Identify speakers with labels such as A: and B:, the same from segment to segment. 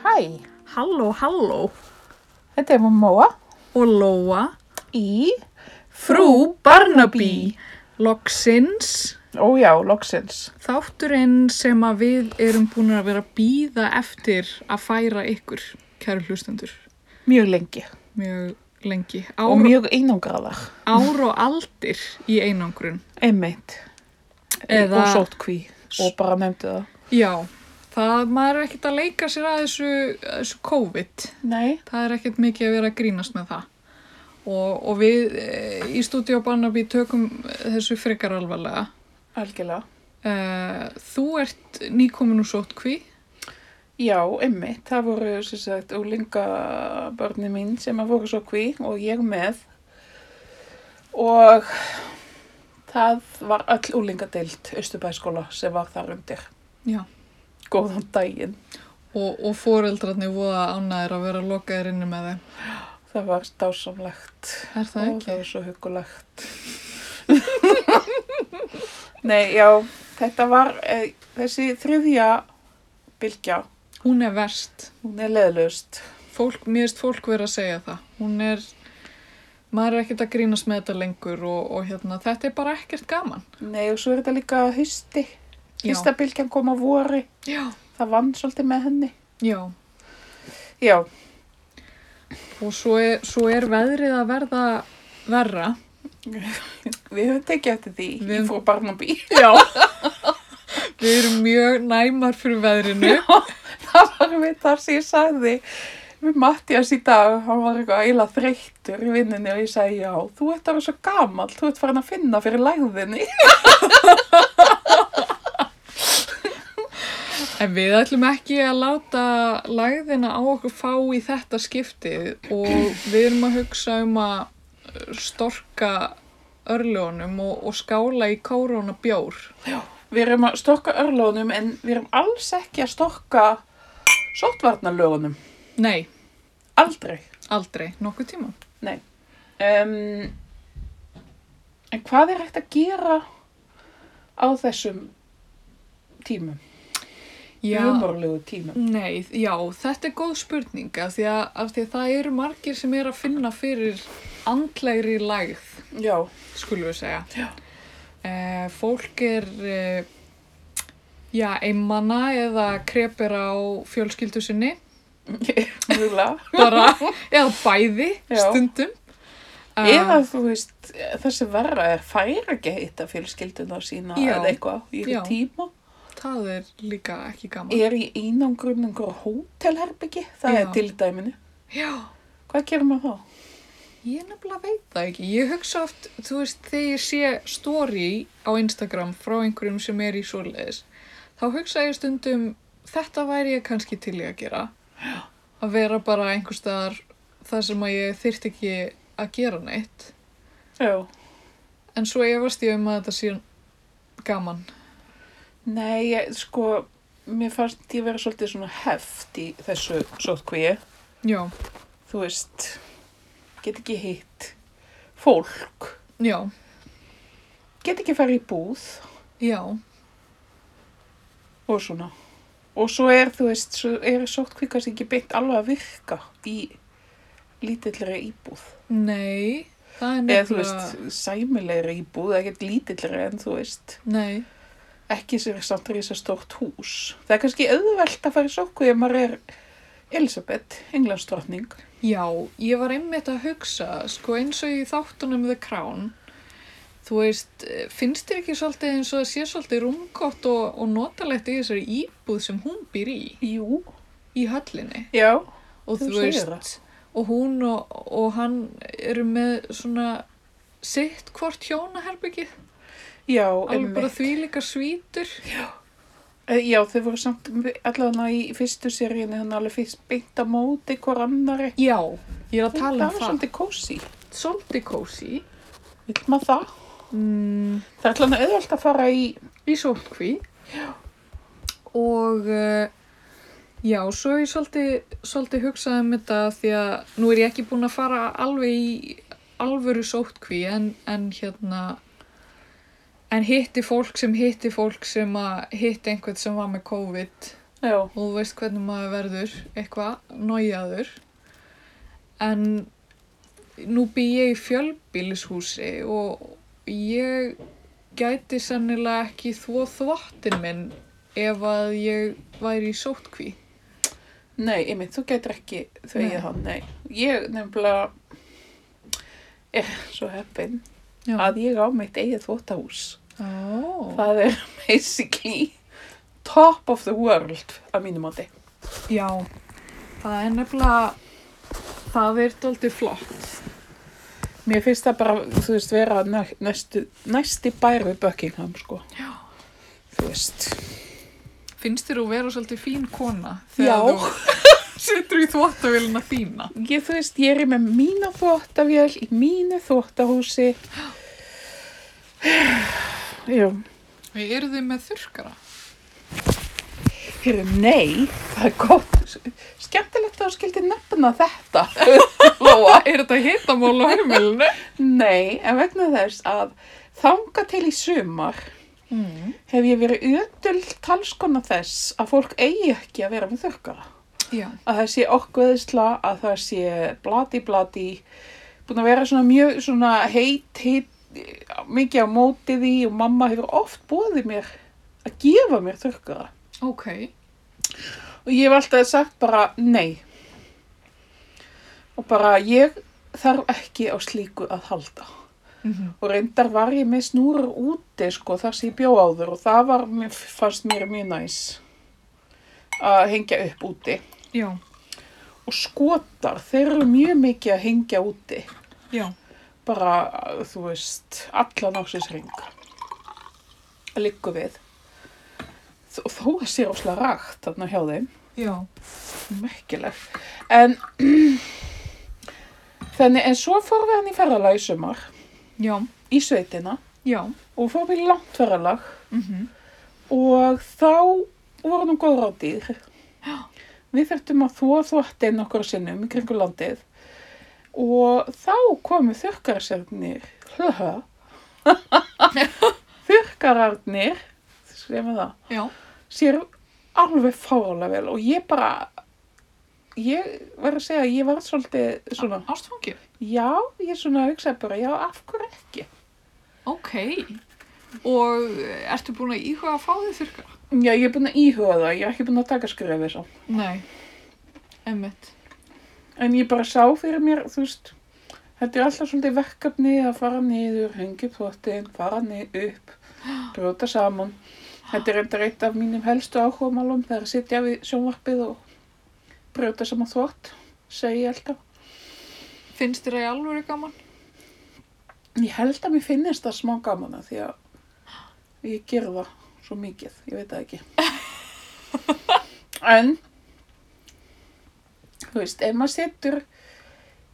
A: Hæ,
B: Halló, halló
A: þetta er Móa
B: og Lóa
A: í...
B: Frú Barnaby Loksins
A: Ó já, loksins.
B: Þátturinn sem að við erum búin að vera að býða eftir að færa ykkur, kæru hlustendur
A: Mjög lengi.
B: mjög lengi,
A: Og
B: ár,
A: mjög einangraðar.
B: ár og aldir í einangrun
A: Einmitt.
B: Eða-
A: Og sótkví. Og bara nefndu það.
B: Já, það maður er ekkert að leika sér að þessu, að þessu COVID.
A: Nei.
B: Það er ekkert mikið að vera að grínast með það. Og, og við e, í stúdíu Barnaby tökum eh, þessu frekar alvarlega.
A: Algjörlega.
B: E, þú ert nýkomin úr sótkví.
A: Já, einmitt. Það voru, sem sagt, úlinga börni mín sem að voru sótkví og ég með. Og það var öll úlingadeild Östubæskóla sem var þar undir.
B: Já.
A: Góðan daginn.
B: Og, og foreldrarnir voða ánæðir að vera lokaðir inni með þeim.
A: Það var dásamlegt.
B: Er það
A: Og
B: ekki?
A: það var svo hugulegt. Nei, já, þetta var e, þessi þriðja bylgja,
B: Hún er verst.
A: hún er leðlust.
B: Fólk, mér erst fólk verið að segja það. Hún er, maður er ekkert að grínast með þetta lengur og, og hérna, þetta er bara ekkert gaman.
A: Nei, og svo er þetta líka hausti.
B: Já.
A: Fyrsta bylgjan kom á vori,
B: Já.
A: það vann svolítið með henni.
B: Já.
A: Já,
B: Og svo er, svo er veðrið að verða verra.
A: við höfum tekið eftir því
B: Við
A: í frú
B: höfum-
A: Barnaby.
B: Já. Við erum mjög næmar fyrir veðrinu.
A: það var við þar sem ég sagði við Mattias í dag, hann var eitthvað eiginlega þreyttur í vinninni og ég sagði já, þú ert að vera svo gamall, þú ert farin að finna fyrir læðinni.
B: En við ætlum ekki að láta lagðina á okkur fá í þetta skiptið og við erum að hugsa um að storka örljónum og, og skála í kórona bjór.
A: Við erum að stokka örlónum en við erum alls ekki að stokka sóttvarnalögunum.
B: Nei,
A: Aldrei.
B: aldrei, nokkuð tíma.
A: Nei. Um, en hvað er hægt að gera á þessum tímum? Umorlegu tímum.
B: Nei, já, þetta er góð spurning af því að, af því að það eru margir sem er að finna fyrir andlegri lægð.
A: Já.
B: skulum við segja.
A: Já.
B: Eh, fólk er, eh, já, einmana eða krepir á fjölskyldu sinni,
A: Mjögulega.
B: bara, eða bæði
A: Já.
B: stundum. Eh,
A: Eða þú veist, það sem verra er fær ekki að hitta fjölskylduna sína
B: Já.
A: eða eitthvað í
B: Já.
A: einhvern tíma.
B: Það er líka ekki gaman.
A: Er í einangrun einhver hótelherbyggi? Það
B: Já.
A: er til dæminu.
B: Já,
A: Hvað gerir maður þá?
B: ég nefnilega veit það ekki. Ég hugsa oft, þú veist, þegar ég sé story á Instagram frá einhverjum sem er í svoleiðis, þá hugsa ég stundum, þetta væri ég kannski til ég að gera. Að vera bara einhver staðar þar sem að ég þyrt ekki að gera neitt.
A: Já.
B: En svo efast ég um að þetta sé gaman.
A: Nei, ég, sko, mér fannst ég vera svolítið svona heft í þessu sótkvíi.
B: Já,
A: Þú veist, get ekki hitt fólk,
B: já,
A: get ekki farið í búð
B: já,
A: og svona. Og svo er, þú veist, svo er sótkvíi kannski ekki beint alveg að virka í lítillri íbúð.
B: nei, það er
A: eða þú
B: nefnilega...
A: veist, sæmilegri íbúð, ekkert lítillri en þú veist,
B: Nei,
A: ekki sér samt að rísa stórt hús. Það er kannski auðvelt að fara í sóku ef maður er Elisabeth, englandsdrottning.
B: já, ég var einmitt að hugsa, sko eins og í þáttunum The Crown, þú veist, eh, finnst þér ekki svolítið eins og það sé svolítið rungott og, og notalegt í þessari íbúð sem hún býr í,
A: Jú,
B: í höllinni.
A: já,
B: Og
A: Þú
B: þú,
A: segir
B: veist, og hún og, og hann eru með svona sitt hvort hjónaherbyggið,
A: já,
B: alveg bara
A: einmitt.
B: því líka svítur.
A: Eh, Já, þau voru samt allavega í fyrstu seríinu, þannig alveg fyrst beint á móti hver annari.
B: Já, ég er að
A: það
B: tala um
A: var
B: það.
A: svolítið kósi.
B: Svolítið kósi
A: Vil maður það?
B: mm,
A: Það er allavega auðvelt að fara í,
B: í sólkví og uh, já, svo hef ég svolítið, svolítið hugsað um þetta því að nú er ég ekki búin að fara alveg í alvöru sótkví en, en hérna en hitti fólk sem hitti fólk sem að hitti einhvern sem var með COVID
A: já,
B: og þú veist hvernig maður verður eitthvað nájaður en nú bý ég í fjölbýlishúsi og ég gæti sennilega ekki þvó þvottin minn ef að ég væri í sótkví
A: nei, einmitt, þú getur ekki þvegið
B: Nei.
A: hann, nei. Ég nefnilega er svo heppin
B: Já.
A: að ég á mitt eigið þvóttahús.
B: Ó,
A: Það er basically top of the world að mínu mati.
B: já, það er nefnilega, það er doldið flott.
A: Mér finnst það bara, þú veist, vera næ- næstu, næsti bær við Buckingham, sko. Já. Þú veist.
B: Finnst þér þú vera svolítið fín kona
A: Já.
B: þegar þú setur í þvottavélina þína?
A: Ég, þú veist, ég er með mína þvóttavél í mínu þvóttahúsi. Jú,
B: Og eru þið með þurrkara?
A: hér er nei, það er gott. Skemmtilegt að þú skildi nefna þetta. Lóa.
B: Er þetta hitamál á heimilinu?
A: Nei, en vegna þess að þanga til í sumar
B: Mm.
A: hef ég verið ödul talskona þess að fólk eigi ekki að vera með þurrkara.
B: Já.
A: Að það sé orkuðisla, að það sé blati blati, búin að vera svona mjög svona heit, heit, mikið á móti því og mamma hefur oft búið mér að gefa mér þurrkara.
B: Ok.
A: Og ég hef alltaf sagt bara nei. Og bara ég þarf ekki á slíku að halda.
B: Mhm.
A: Og reyndar var ég með snúrur úti sko þar sem ég bjó áður og það var, mér fannst mér mjög næs að hengja upp úti.
B: Já,
A: Og skotar, þeir eru mjög mikið að hengja úti.
B: já.
A: Bara, þú veist, allan ásins ring. Liggu við. Þó, þó að sé ráslega rakt þarna hjá þeim.
B: Já.
A: merkileg en þannig en svo fór við hann í ferðalag í sumar
B: Já.
A: í sveitina
B: Já.
A: og fór við í langt ferðalag
B: Mm
A: og þá voru nú góður á dýr við þurftum að þvó þvottin okkur sinnum í kringu landið og þá komu þurrkarsernir þurrkararnir sem er það
B: Já.
A: sér alveg fárlega vel og ég bara ég verður að segja að ég var svolítið svona,
B: Ástfangið.
A: já, ég svona hugsaði bara, já, af hverju ekki
B: Ok. Og ertu búin að íhuga að fá þið þurrkara?
A: já, ég er búin að íhuga það, ég er ekki búin að taka skrefið svo,
B: Nei. Emmitt.
A: en ég bara sá fyrir mér, þú veist þetta er alltaf svolítið verkefni að fara niður hengi plotin, fara niður upp brjóta saman þetta er enda reitt af mínum helstu áhugamálum það er að sitja við sjónvarpið og brjóta saman þvott segi ég alltaf
B: Finnst þér það í alvöru gaman?
A: Ég held að mér finnist það smá gaman að því að ég ger það svo mikið, ég veit það ekki. En, þú veist, ef maður setur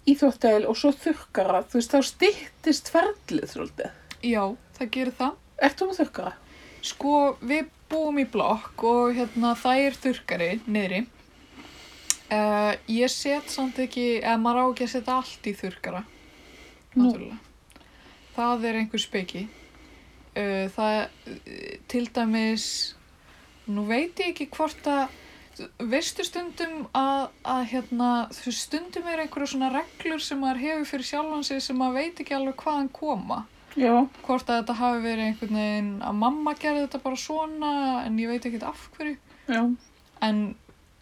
A: í þvóttæl og svo þurrkara, þú veist, þá styttist ferlið svolítið.
B: Já, það gerir það.
A: Ert þú með þurrkara?
B: Sko, við búum í blokk og hérna það er þurrkari niðri. Uh, ég set samt ekki, eða maður á ekki að setja allt í þurrkara.
A: Nú.
B: Náttúrulega. Það er einhver speki. Uh, það, uh, til dæmis, nú veit ég ekki hvort að, veistu stundum að, að hérna, þú veist, stundum er einhverja svona reglur sem maður hefur fyrir sjálfan sig sem maður veit ekki alveg hvaðan koma
A: Já,
B: hvort að þetta hafi verið einhvern veginn að mamma gerði þetta bara svona en ég veit ekkert af hverju
A: já,
B: en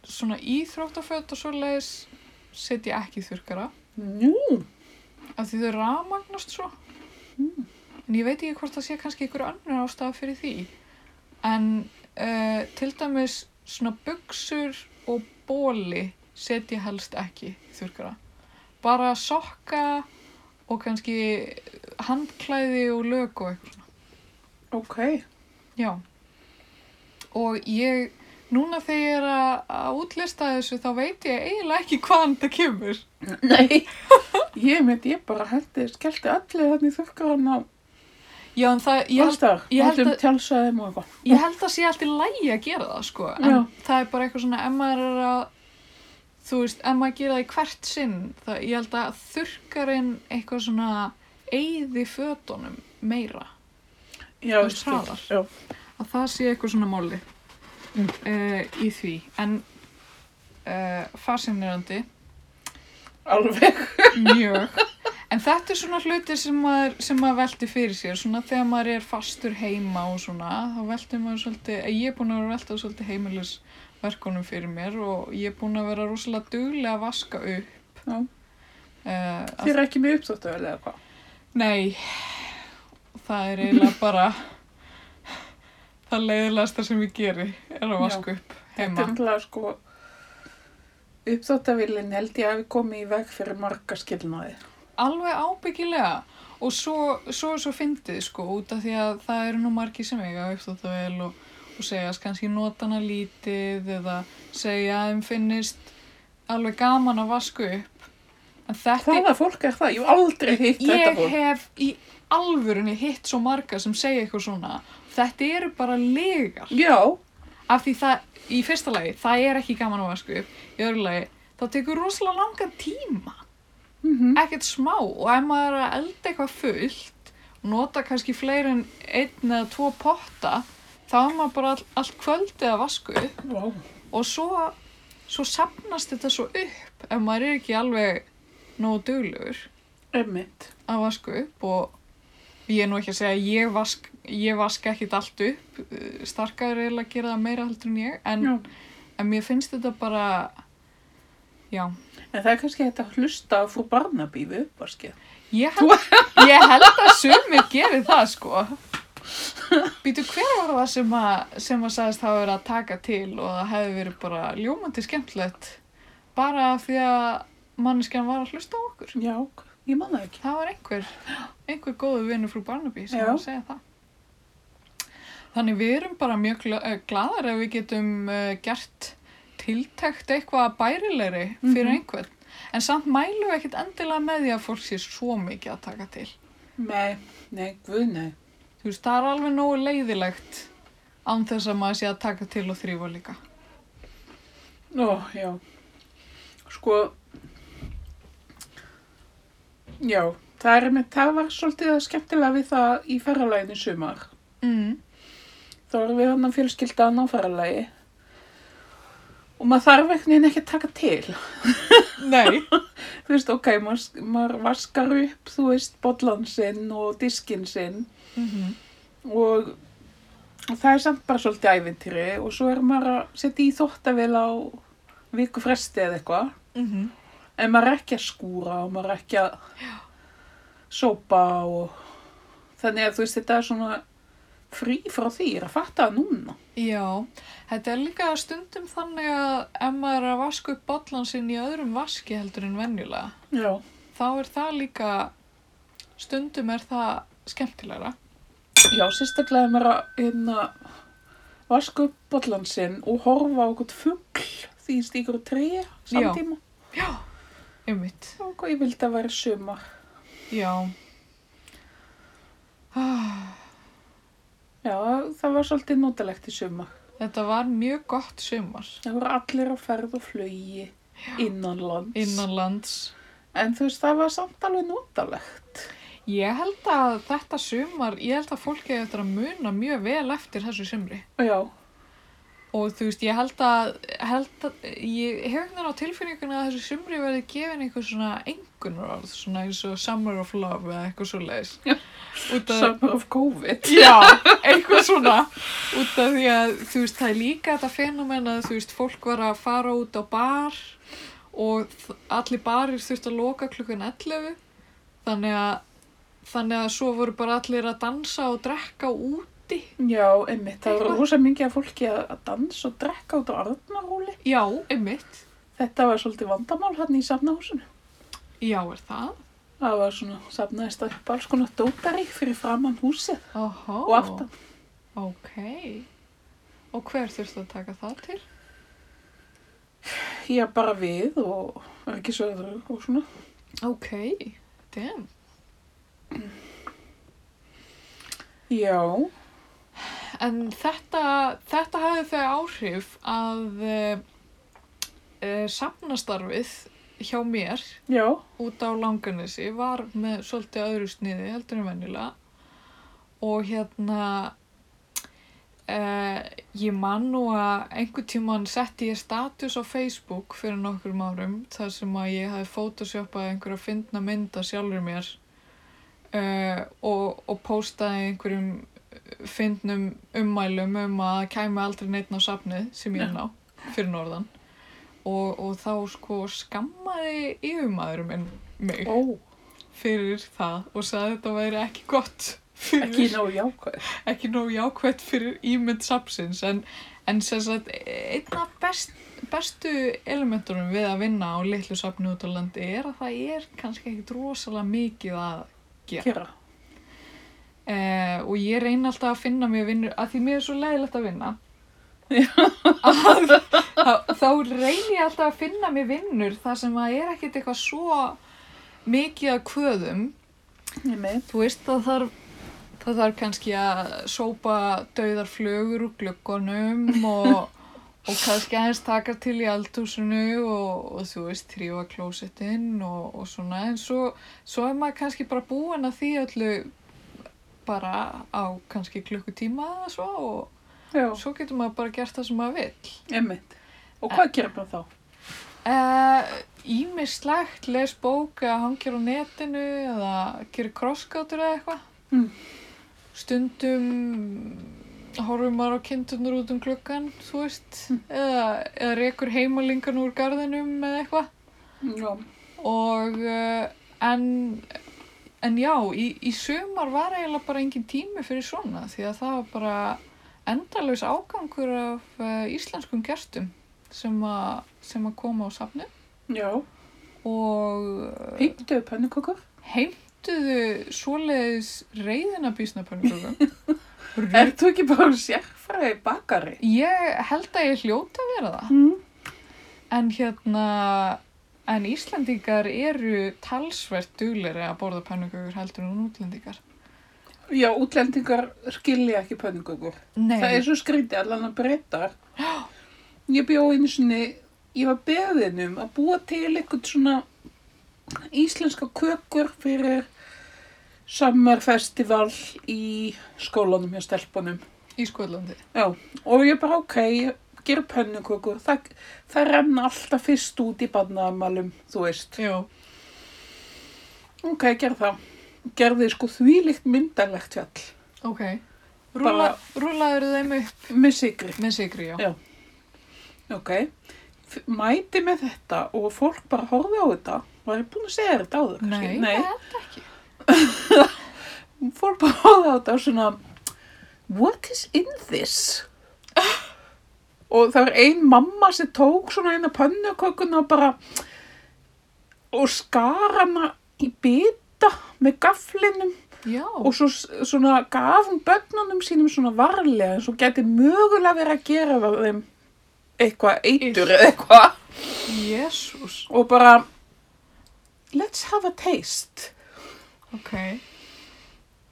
B: svona íþróttaföt og svoleiðis set ég ekki í þurrkara
A: njú,
B: af því þau rafmagnast svo en ég veit ekki hvort það sé kannski einhver annar ástæða fyrir því en uh, til dæmis svona buksur og bóli set ég helst ekki í þurrkara bara sokka og kannski handklæði og lög og eitthvað
A: ok,
B: Já. Og ég, núna þegar ég er að, að útlista þessu, þá veit ég eiginlega ekki hvaðan þetta kemur.
A: nei, ég með ég bara hendi, skellti allir þannig þurrkaran á
B: Já, en það, ég held,
A: allstar,
B: ég held
A: allum
B: að-
A: tjálsæðum og eitthvað.
B: ég held að sé allt í lægi að gera það, sko. En
A: Já.
B: það er bara eitthvað svona, ef maður er að, þú veist, ef maður gera það í hvert sinn, það, ég held að þurrkarinn eitthvað svona eyði fötunum meira.
A: Já,
B: þú veist, hraðar.
A: já.
B: Að það sé eitthvað svona máli.
A: Mm.
B: uh, í því en uh, fascinerandi
A: alveg.
B: mjög en þetta er svona hlutir sem maður, sem maður velti fyrir sér svona þegar maður er fastur heima og svona þá velti maður svolítið eh, ég er búin að vera að velta svolítið heimilisverkunum fyrir mér og ég er búin að vera rosalega duglega að vaska upp
A: Já.
B: Eh, að
A: Þið er ekki með uppsóttuvel eða hvað?
B: Nei, það er eiginlega bara það leiðilegasta sem ég geri er að
A: Já.
B: vaska upp
A: Þetta
B: heima.
A: er náttúrulega sko, uppsóttavillin held ég að við komið í veg fyrir marga skilnaði.
B: Alveg ábyggilega og svo, svo er svo fyndið sko út af því að það eru nú margir sem eiga uppþóttavel og, og segjast kannski nota hana lítið eða segja að þeim finnist alveg gaman að vaska upp. En þetta
A: Hvaða fólk er það? Ég hef aldrei hitt þetta
B: ég
A: fólk.
B: hef í alvörunni hitt svo marga sem segja eitthvað svona. Þetta eru bara legar.
A: Já,
B: af því það í fyrsta lagi, það er ekki gaman að vasku upp í öðru lagi, það tekur rosalega langan tíma
A: mm
B: ekkert smá og ef maður er að elda eitthvað fullt og nota kannski fleiri en einn eða tvo potta þá er maður bara all, allt kvöldið að vasku upp
A: Vá.
B: og svo, svo sapnast þetta svo upp ef maður er ekki alveg nógu duglegur
A: Emmitt.
B: að vaska upp og ég er nú ekki að segja að ég vask, ég vask ekkit allt upp eh, starkaður er eiginlega að gera það meira heldur en ég en,
A: Já.
B: en mér finnst þetta bara já
A: En það er kannski hægt að hlusta á frú Barnaby við uppvaskið.
B: ég held, ég held að sumir gerir það sko býtu hver var það sem að sem að sagðist hafa verið að taka til og það hefði verið bara ljómandi skemmtilegt bara af því að manneskjan var að hlusta á okkur
A: Já, ég man það ekki.
B: það var einhver, einhver góðu vinur frú Barnaby sem
A: Já.
B: var að segja það. Þannig við erum bara mjög gla- eh, glaðar ef við getum uh, gert tiltækt eitthvað bærilegri fyrir
A: Mhm.
B: einhvern. En samt mælum við ekkert endilega með því að fólk sé svo mikið að taka til.
A: Nei, nei, guð nei.
B: Þú veist, það er alveg nógu leiðilegt án þess að maður sé að taka til og þrýfa líka.
A: Ó, já. Sko, já, það er með, það var svolítið að skemmtilega við það í ferralæginu sumar.
B: Mm.
A: Þá erum við hann að fjölskylda hann á ferralægi og maður þarf einhvern veginn ekki að taka til.
B: Nei.
A: Þú veist, ok, maður, maður vaskar upp, þú veist, bollan sinn og diskinn sinn
B: mm
A: og og það er samt bara svolítið ævintýri og svo er maður að setja í þóttavél á viku fresti eða eitthvað.
B: mhm.
A: En maður er ekki að skúra og maður er ekki að sópa og þannig að þú veist þetta er svona frí frá því, ég er að fatta það núna.
B: Já, þetta er líka stundum þannig að ef maður er að vaska upp bollan sinn í öðrum vaski heldur en venjulega,
A: Já.
B: þá er það líka, stundum er það skemmtilegra.
A: Já, sérstaklega er maður að hérna, vaska upp bollan sinn og horfa á okkur fugl því ég stíkur á tré samtíma.
B: Einmitt.
A: Já. Og ég vildi að vera sumar.
B: Já. Ah,
A: Já, það var svolítið notalegt í sumar.
B: þetta var mjög gott sumar
A: Það voru allir á ferð og flögi innanlands.
B: innanlands.
A: En þú veist, það var samt alveg notalegt.
B: Ég held að þetta sumar, ég held að fólki eftir að muna mjög vel eftir þessu sumri.
A: Já,
B: Og þú veist, ég held að, held að ég hef einhvern veginn á tilfinninguna að þessu sumri verði gefin einhver svona engunráð, svona eins og Summer of Love eða eitthvað svo leiðis. Út af,
A: summer of COVID.
B: já, eitthvað svona. Út af því að, þú veist, það er líka þetta fenomen að, þú veist, fólk var að fara út á bar og þ- allir barir þurfti að loka klukkan 11. Þannig að, þannig að svo voru bara allir að dansa og drekka úti.
A: Já, einmitt. Það
B: Eitthvað.
A: var rosa mikið af fólki að, að dansa og drekka út á Arnarhóli.
B: Já, einmitt.
A: Þetta var svolítið vandamál hann í safnahúsinu.
B: Já, er það?
A: Það var svona safnaðist upp alls konar dótari fyrir framann húsið
B: Aha.
A: og aftan.
B: Ok. Og hver þurftu að taka það til?
A: Já, bara við og var ekki svo öðru og svona.
B: Ok. Damn.
A: Já,
B: En þetta, þetta hafði þau áhrif að uh, uh, safnastarfið hjá mér
A: já,
B: út á langanesi var með svolítið öðru sniði heldur en venjulega og hérna Uh, ég man nú að einhvern tíman setti ég status á Facebook fyrir nokkrum árum þar sem að ég hafi photoshoppað einhverja fyndna mynda sjálfur mér uh, og, og postaði einhverjum eh, fyndnum ummælum um að það kæmi aldrei neitt á safnið sem ég er ná fyrir norðan og, og þá sko skammaði yfirmaður minn mig
A: Ó,
B: fyrir það og sagði að þetta væri ekki gott fyrir
A: ekki nóg jákvæð.
B: ekki nógu jákvæmt fyrir ímynd sapsins en, en sem sagt einn af best, bestu elementunum við að vinna á litlu sapni út á landi er að það er kannski ekkit rosalega mikið að gera
A: Gera.
B: eh, og ég reyna alltaf að finna mér vinnu að því mér er svo leiðilegt að vinna að, að, þá reyni ég alltaf að finna mér vinnur þar sem að er ekkit eitthvað svo mikið að kvöðum
A: Einmitt.
B: Þú veist það þarf það þarf kannski að sópa dauðar flögur úr glöggunum og, og kannski aðeins taka til í eldhúsinu og, og þú veist trífa klósettinn og, og svona en svo, svo er maður kannski bara búin að því öllu bara á kannski klukkutíma eða svo og
A: Já,
B: svo getur maður bara gert það sem maður vill.
A: einmitt. Og hvað gerir maður þá?
B: Eh, Ímislegt, les bók eða hangir á netinu eða gerir krosskátur eða eitthvað.
A: Mm.
B: Stundum horfum maður á kindunur út um klukkan, þú veist, eða, eða rekur heimalingan úr garðinum eða eitthvað.
A: Mm, Já.
B: Og, eh, en, en já, í, í sumar var eiginlega bara engin tími fyrir svona því að það var bara endalaus ágangur af eh, íslenskum gestum sem, a, sem að koma á safnið
A: Já.
B: og eh,
A: Hýttu pönnukökur?
B: heimtuðu svoleiðis reyðina bísnapönnukökum.
A: Er þú ekki bara sérfræði bakari?
B: ég held að ég hljóta að vera það.
A: Mm.
B: En hérna, en Íslandingar eru talsvert dugleri að borða pönnukökur heldur en útlendingar.
A: Já, útlendingar skilja ekki pönnukökur.
B: Nei,
A: Það er svo skrítið allan að breyta. Ég bjó einu sinni, ég var beðin um að búa til eitthvað svona íslenska kökur fyrir summerfestival í skólanum hjá stelpunum.
B: í Skotlandi.
A: Já, og ég bara ok, ég ger pönnukökur. Það, það renna alltaf fyrst út í barnaðamælum, þú veist.
B: Já,
A: Ok, gerð það. Gerði sko þvílíkt myndalegt fjall
B: ok. Rúla, rúlaður þeim upp
A: með sigri.
B: með sigri, já.
A: Já. Ok, F- mæti með þetta og fólk bara horfði á þetta. Var ég búin að segja þér þetta áður?
B: Nei,
A: kannski?
B: Nei, þetta ekki.
A: Nei, fólk bara horfði á þetta og svona, what is in this? og það var ein mamma sem tók svona eina pönnukökuna og bara, og skar hana í bita með gaflinum
B: Já,
A: og svo s- svona gaf hún bönnunum sínum svona varlega eins og geti mögulega verið að gera af þeim eitthvað eitur eða eitthvað
B: jésús,
A: og bara let's have a taste
B: ok.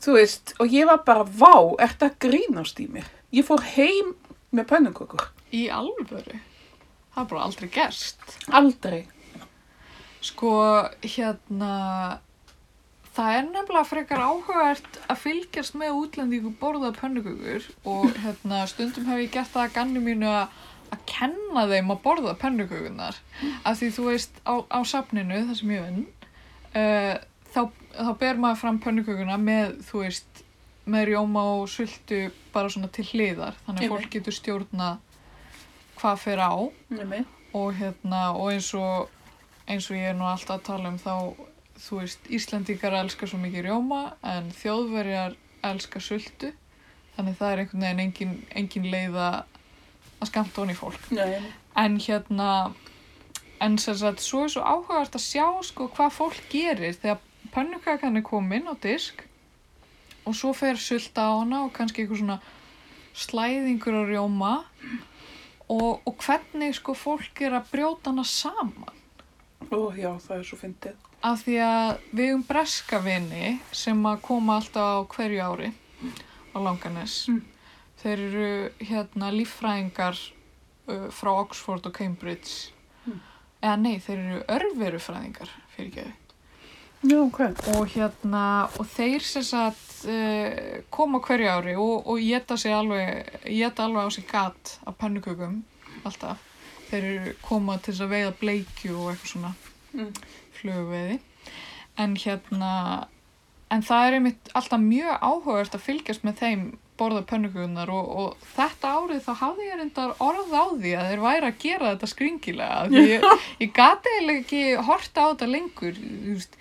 A: þú veist, og ég var bara vá, er þetta grínast í mér ég fór heim með pönnukökur
B: Í alvöru. Það er bara aldrei gerst.
A: aldrei
B: Sko, hérna, það er nefnilega frekar áhugavert að fylgjast með útlendingu borða pönnukökur og hérna, stundum hef ég gert það að ganni mínu að, að kenna þeim að borða pönnukökunar. Af því þú veist, á, á safninu, það sem ég vinn, uh, þá, þá ber maður fram pönnukökuna með, þú veist, með rjóma og sultu bara svona til hliðar. Þannig að
A: Einmitt.
B: fólk getur stjórna hvað fer á
A: Nemi.
B: og hérna og eins og eins og ég er nú alltaf að tala um þá þú veist, Íslendingar elskar svo mikið rjóma en þjóðverjar elskar sultu þannig það er einhvern veginn engin, engin leið að að skamta honi fólk
A: Nei.
B: en hérna en sem sagt, svo er svo áhugavert að sjá sko hvað fólk gerir þegar pönnukakan er komin á disk og svo fer sulta á hana og kannski eitthvað svona slæðingur á rjóma og, og hvernig sko fólk er að brjóta hana saman
A: Ó, já, það er svo fyndið
B: Af því að við um breska vini sem að koma alltaf á hverju ári á Langanes.
A: Mm.
B: Þeir eru hérna líffræðingar uh, frá Oxford og Cambridge.
A: Mm.
B: Eða nei, þeir eru örverufræðingar fyrir ekki.
A: já, ok,
B: Og hérna, og þeir sem sagt, uh, koma á hverju ári og, og geta sig alveg, geta alveg á sig gat af pannukökum, alltaf. Þeir eru koma til þess að veiða bleikju og eitthvað svona
A: Mm.
B: flugveiði. En hérna, en það er einmitt alltaf mjög áhugavert að fylgjast með þeim borða pönnugunar og, og þetta árið þá hafði ég reyndar orð á því að þeir væri að gera þetta skringilega af því ég, ég gati eiginlega ekki horta á þetta lengur þú veist,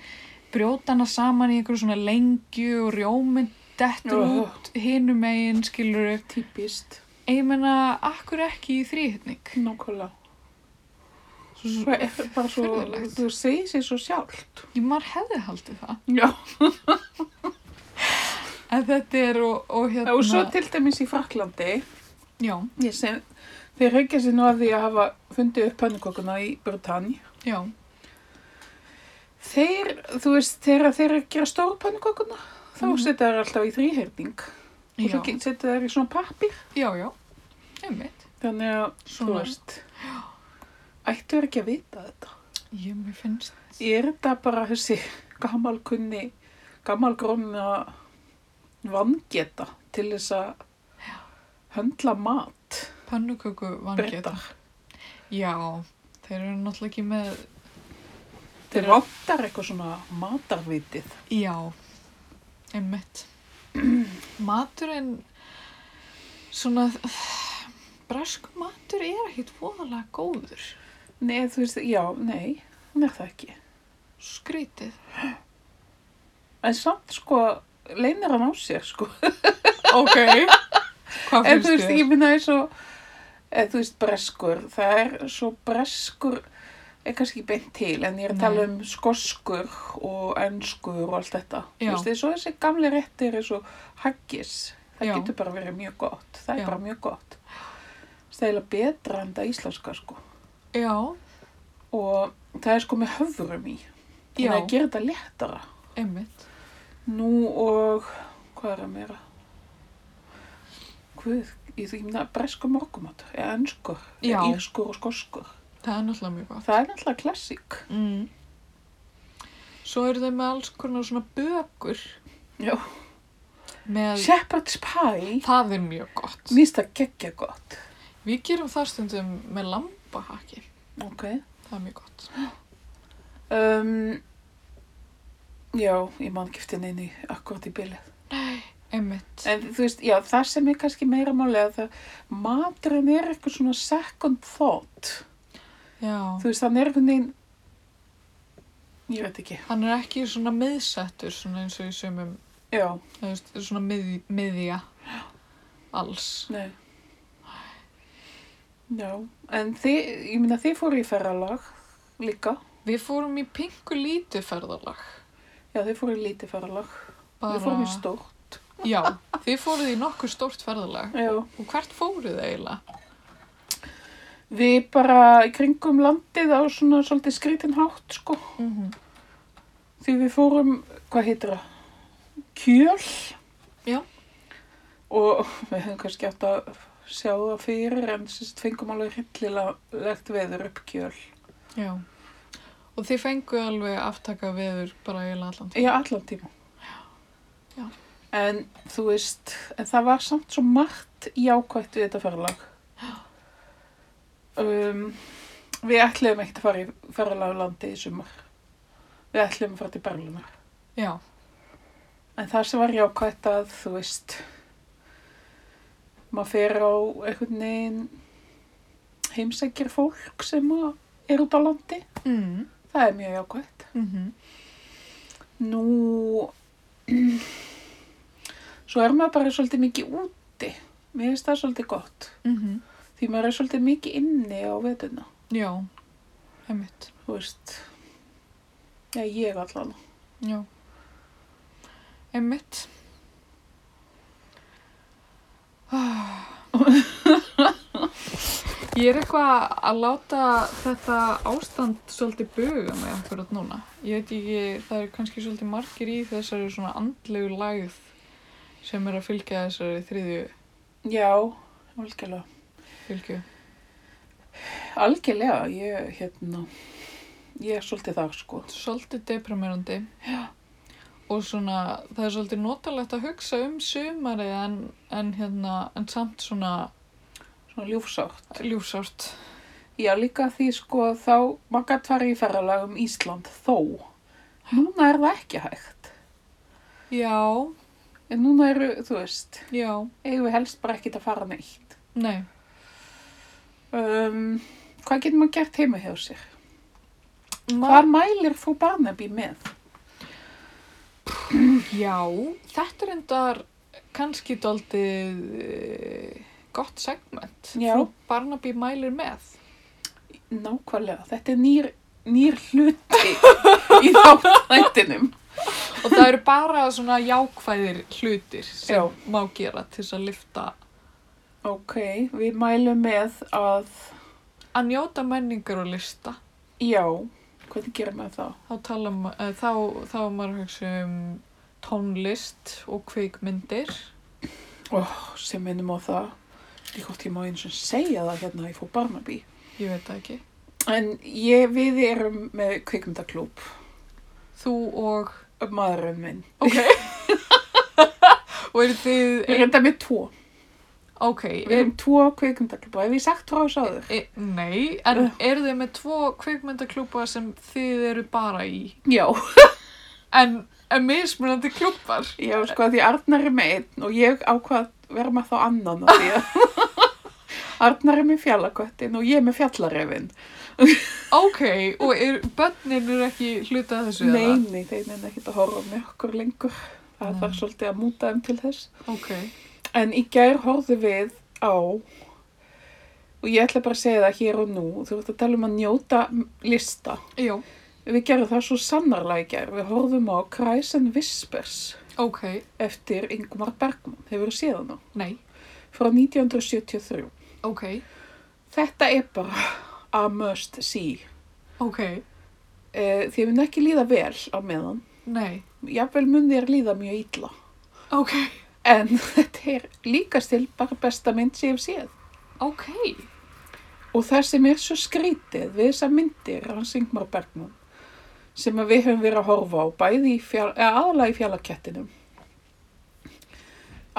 B: brjóta hana saman í einhverju svona lengju og rjómynd dettur
A: Ugh.
B: út hinum megin skilur
A: Típist.
B: ég meina, akkur ekki í þrýhittning
A: Nákvæmlega.
B: Svo-
A: Svo er bara svo,
B: Furðulegt.
A: þú segir sér svo sjálft.
B: ég maður hefði haldið það
A: Já.
B: en þetta er og, og hérna
A: Og svo til dæmis í Fraklandi,
B: já,
A: ég sem, þeir reykja sér nú að því að hafa fundið upp pannukokuna í Britannia.
B: já,
A: Þeir, þú veist, þegar þeir eru að gera stóru pannukokuna, þá
B: Mhm.
A: setja þeir alltaf í þrýherning og
B: já,
A: svo ge- setja þeir í svona pappir.
B: já, já einmitt
A: Þannig að, þú
B: Svona.
A: veist, ættu er ekki að vita þetta.
B: ég mér finnst
A: Er þetta bara þessi gamalkunni, gamalgrónna vangeta til þess að höndla mat?
B: pannuköku vangeta
A: Bretar.
B: Já, þeir eru náttúrulega ekki með,
A: Þeir vantar eitthvað svona matarvitið.
B: já, einmitt. Maturinn, svona, bresk matur er ekkit voðalega góður,
A: Nei, þú veist, já, nei, hann er það ekki.
B: skrítið.
A: En samt sko, leynir hann á sér sko.
B: Ok, hvað
A: En þú
B: finnst
A: veist,
B: þér?
A: ég minna eins og, eða þú veist, breskur, það er svo breskur, er kannski ekki beint til, en ég er að tala um skoskur og ennskur og allt þetta.
B: Já.
A: Þú veist, eins og þessi gamli réttir eins og haggis, það
B: Já.
A: getur bara verið mjög gott, það er
B: Já.
A: bara mjög gott. Það er eiginlega betra en það íslenska sko.
B: Já,
A: Og það er sko með höfrum í, þannig
B: já,
A: að gera þetta léttara.
B: einmitt.
A: Nú og, hvað er að meira? Hvað, ég þú ekki minna, breskur morgumat, eða ennskur, eða
B: Já.
A: írskur og skoskur.
B: Það er náttúrulega mjög gott.
A: Það er náttúrulega klassík.
B: Mm. Svo eru þeir með alls konar svona bökur
A: Já.
B: með,
A: Shepherd's pie,
B: það er mjög gott.
A: minnst það geggja gott.
B: Við gerum það stundum með lambahakki,
A: Ok.
B: það er mjög gott.
A: Um, já, ég man ekki eftir neinu akkurat í bylið.
B: Einmitt.
A: En þú veist, já, það sem er kannski meira máli að það, maturinn er eitthvað svona second thought.
B: Já,
A: Þú veist, þannig er einhvern veginn, ég veit ekki,
B: hann er ekki svona miðsettur svona eins og í sömum,
A: já,
B: þú veist, svona mið, miðja alls.
A: nei. Já, en þið, ég meina þið fóru í ferralag líka.
B: Við fórum í pingu lítið ferðalag.
A: Já, þið fóru í lítið ferralag. Við fórum í stórt.
B: Já, þið fóruð í nokkuð stórt ferðalag.
A: Já.
B: Og hvert fóruð þið eiginlega?
A: Við bara í kringum landið á svona svolítið skrítin hátt, sko.
B: Mm
A: Því við fórum, hvað heitir það? Kjöl.
B: Já.
A: Og við höfum kannski átt að sjá það fyrir en sérst fengum alveg hryllilegt veður upp kjöl.
B: Já. Og þið fenguð alveg aftaka veður bara eiginlega allan tíma.
A: Já, allan tíma.
B: Já.
A: En þú veist, en það var samt svo margt jákvætt við þetta ferðalag. Um, við ætluðum ekkert að fara í ferðalag á landi í sumar. Við ætluðum að fara til Berlunar.
B: Já,
A: En það sem var jákvætt að, þú veist, maður fer á einhvern veginn heimsækjir fólk sem að er út á landi.
B: mm.
A: Það er mjög jákvætt.
B: Mm
A: Nú, svo er maður bara svolítið mikið úti. Mér finnst það svolítið gott. Því maður er svolítið mikið inni á vetuna.
B: já, einmitt,
A: Þú veist, já, ég allan.
B: já, einmitt. Ah. Ég er eitthvað að láta þetta ástand svolítið buga mig akkurat núna. Ég veit ekki, það er kannski svolítið margir í þessari svona andlegu lægð sem er að fylgja þessari þriðju
A: Já, algjörlega.
B: fylgju.
A: Algjörlega, ég, hérna, ég er svolítið þar, sko.
B: Svolítið deprimerandi. Já. og svona það er svolítið notalegt að hugsa um sumarið en, en hérna en samt svona
A: svona ljúfsátt.
B: ljúsárt
A: Já, líka því sko þá maður gætt farið í ferralag um Ísland þó. Núna er það ekki hægt.
B: já,
A: En núna eru, þú veist,
B: já,
A: eigum við helst bara ekkert að fara neitt.
B: nei
A: Um, hvað getur maður gert heima hjá sér?
B: Ma
A: Hvað mælir þú Barnaby með?
B: já, þetta er endar kannski daldið eh, gott segment
A: Já.
B: frú Barnaby mælir með
A: Nákvæmlega, þetta er nýr, nýr hluti í þáttættinum.
B: og það eru bara svona jákvæðir hlutir sem
A: Já.
B: má gera til þess að lifta
A: Ok, við mælum með að,
B: að njóta menningar og lista
A: já, hvernig gerum við það?
B: þá tala ma- eh, þá, þá er maður að hugsa um tónlist og kveikmyndir
A: Sem minnum á það, ég hvort ég má eins og segja það hérna að ég fór Barnaby.
B: ég veit það ekki
A: En ég, við erum með kvikmyndaklúb,
B: þú og
A: maðurinn minn.
B: ok og eru þið
A: Við erum þetta með tvo.
B: ok
A: Við
B: er,
A: erum tvo kvikmyndaklúba, hef ég sagt frá þessu áður?
B: er, nei,
A: Uh.
B: en eru þið með tvo kveikmyndaklúpa sem þið eru bara í
A: Já.
B: en, en mismunandi klúpar
A: Já, sko, því Arnar er með einn og ég ákvað að vera með þá annan af því að Arnar er með fjallaköttin og ég er með fjallarefin.
B: ok, og er, börnin eru ekki hluta af þessu eða?
A: Nei, nei, þeir neina ekki að horfa með okkur lengur. Það
B: Nei.
A: þarf svolítið að múta þeim til þess.
B: ok,
A: En í gær horfðu við á, og ég ætla bara að segja það hér og nú, þú ert að tala um að njóta lista.
B: já,
A: Við gerum það svo sannarlega í gær. Við horfum á Cries and Whispers
B: ok
A: eftir Ingmar Bergman. Hefur þú séð hana?
B: nei,
A: Frá 1973.
B: ok,
A: Þetta er bara a must see.
B: ok
A: Uh, þið mun ekki líða vel á meðan.
B: nei,
A: Jafnvel mun þér líða mjög illa.
B: ok
A: En þetta er líka stil bara besta mynd sem ég hef séð.
B: ok,
A: Og það sem er svo skrítið við þessar myndir hans Ingmar Bergman sem að við höfum verið að horfa á bæði í fjall, eða aðalega í fjallakettinum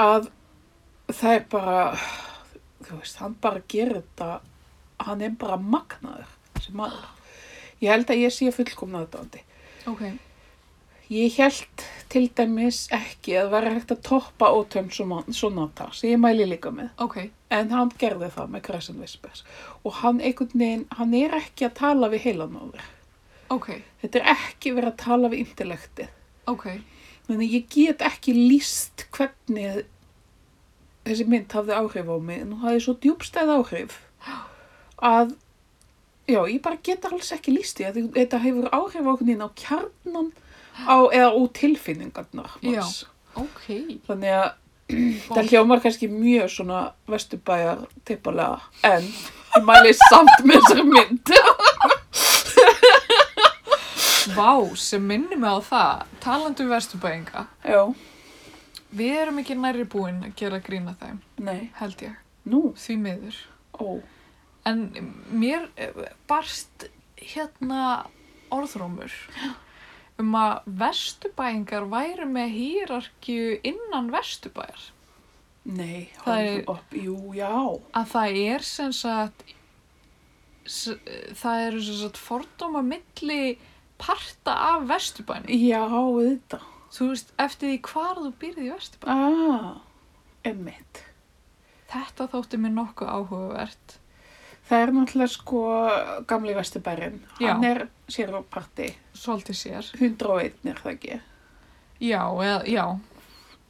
A: að það er bara þú veist, hann bara gerir þetta hann er bara magnaður sem maður. Ég held að ég sé fullkomna þetta andi.
B: ok
A: Ég held til dæmis ekki að vera hægt að toppa ótömm sonata sem ég mæli líka með.
B: Ok,
A: En hann gerði það með Crescent Whispers og hann einhvern veginn, hann er ekki að tala við heilan á þér.
B: ok,
A: Þetta er ekki verið að tala við intellektið.
B: ok,
A: Þannig að ég get ekki líst hvernig þessi mynd hafði áhrif á mig en hún hafði svo djúbstæð áhrif að, já, ég bara get alls ekki líst því að þetta hefur áhrif á einhvern veginn á kjarnan á, eða á tilfinningarnar.
B: Já.
A: manns.
B: ok.
A: Þannig að Það hljómar kannski mjög svona vesturbæjar tippalega, en ég mæli samt með þessari mynd.
B: Vá, sem minnir mig á það, talandi um vesturbæinga,
A: Já,
B: við erum ekki nærri búin að gera grína þeim,
A: nei,
B: held ég,
A: nú,
B: því miður.
A: ó,
B: En mér eh, barst hérna orðrómur um að vesturbæingar væri með hýrarkju innan vesturbæjar.
A: nei,
B: Það er-
A: hóðu upp, jú, já,
B: Að það er sem sagt, s- það eru sem sagt fordóma milli parta af vesturbænum.
A: já, þetta,
B: Þú veist, eftir því hvar þú býrði í Vesturbæ.
A: ah, emmitt.
B: Þetta þótti mér nokkuð áhugavert.
A: Það er náttúrulega sko gamli vesturbærin,
B: Já.
A: hann er sér á parti,
B: Svolítið sér.
A: 101 er það ekki.
B: Já, eða, já,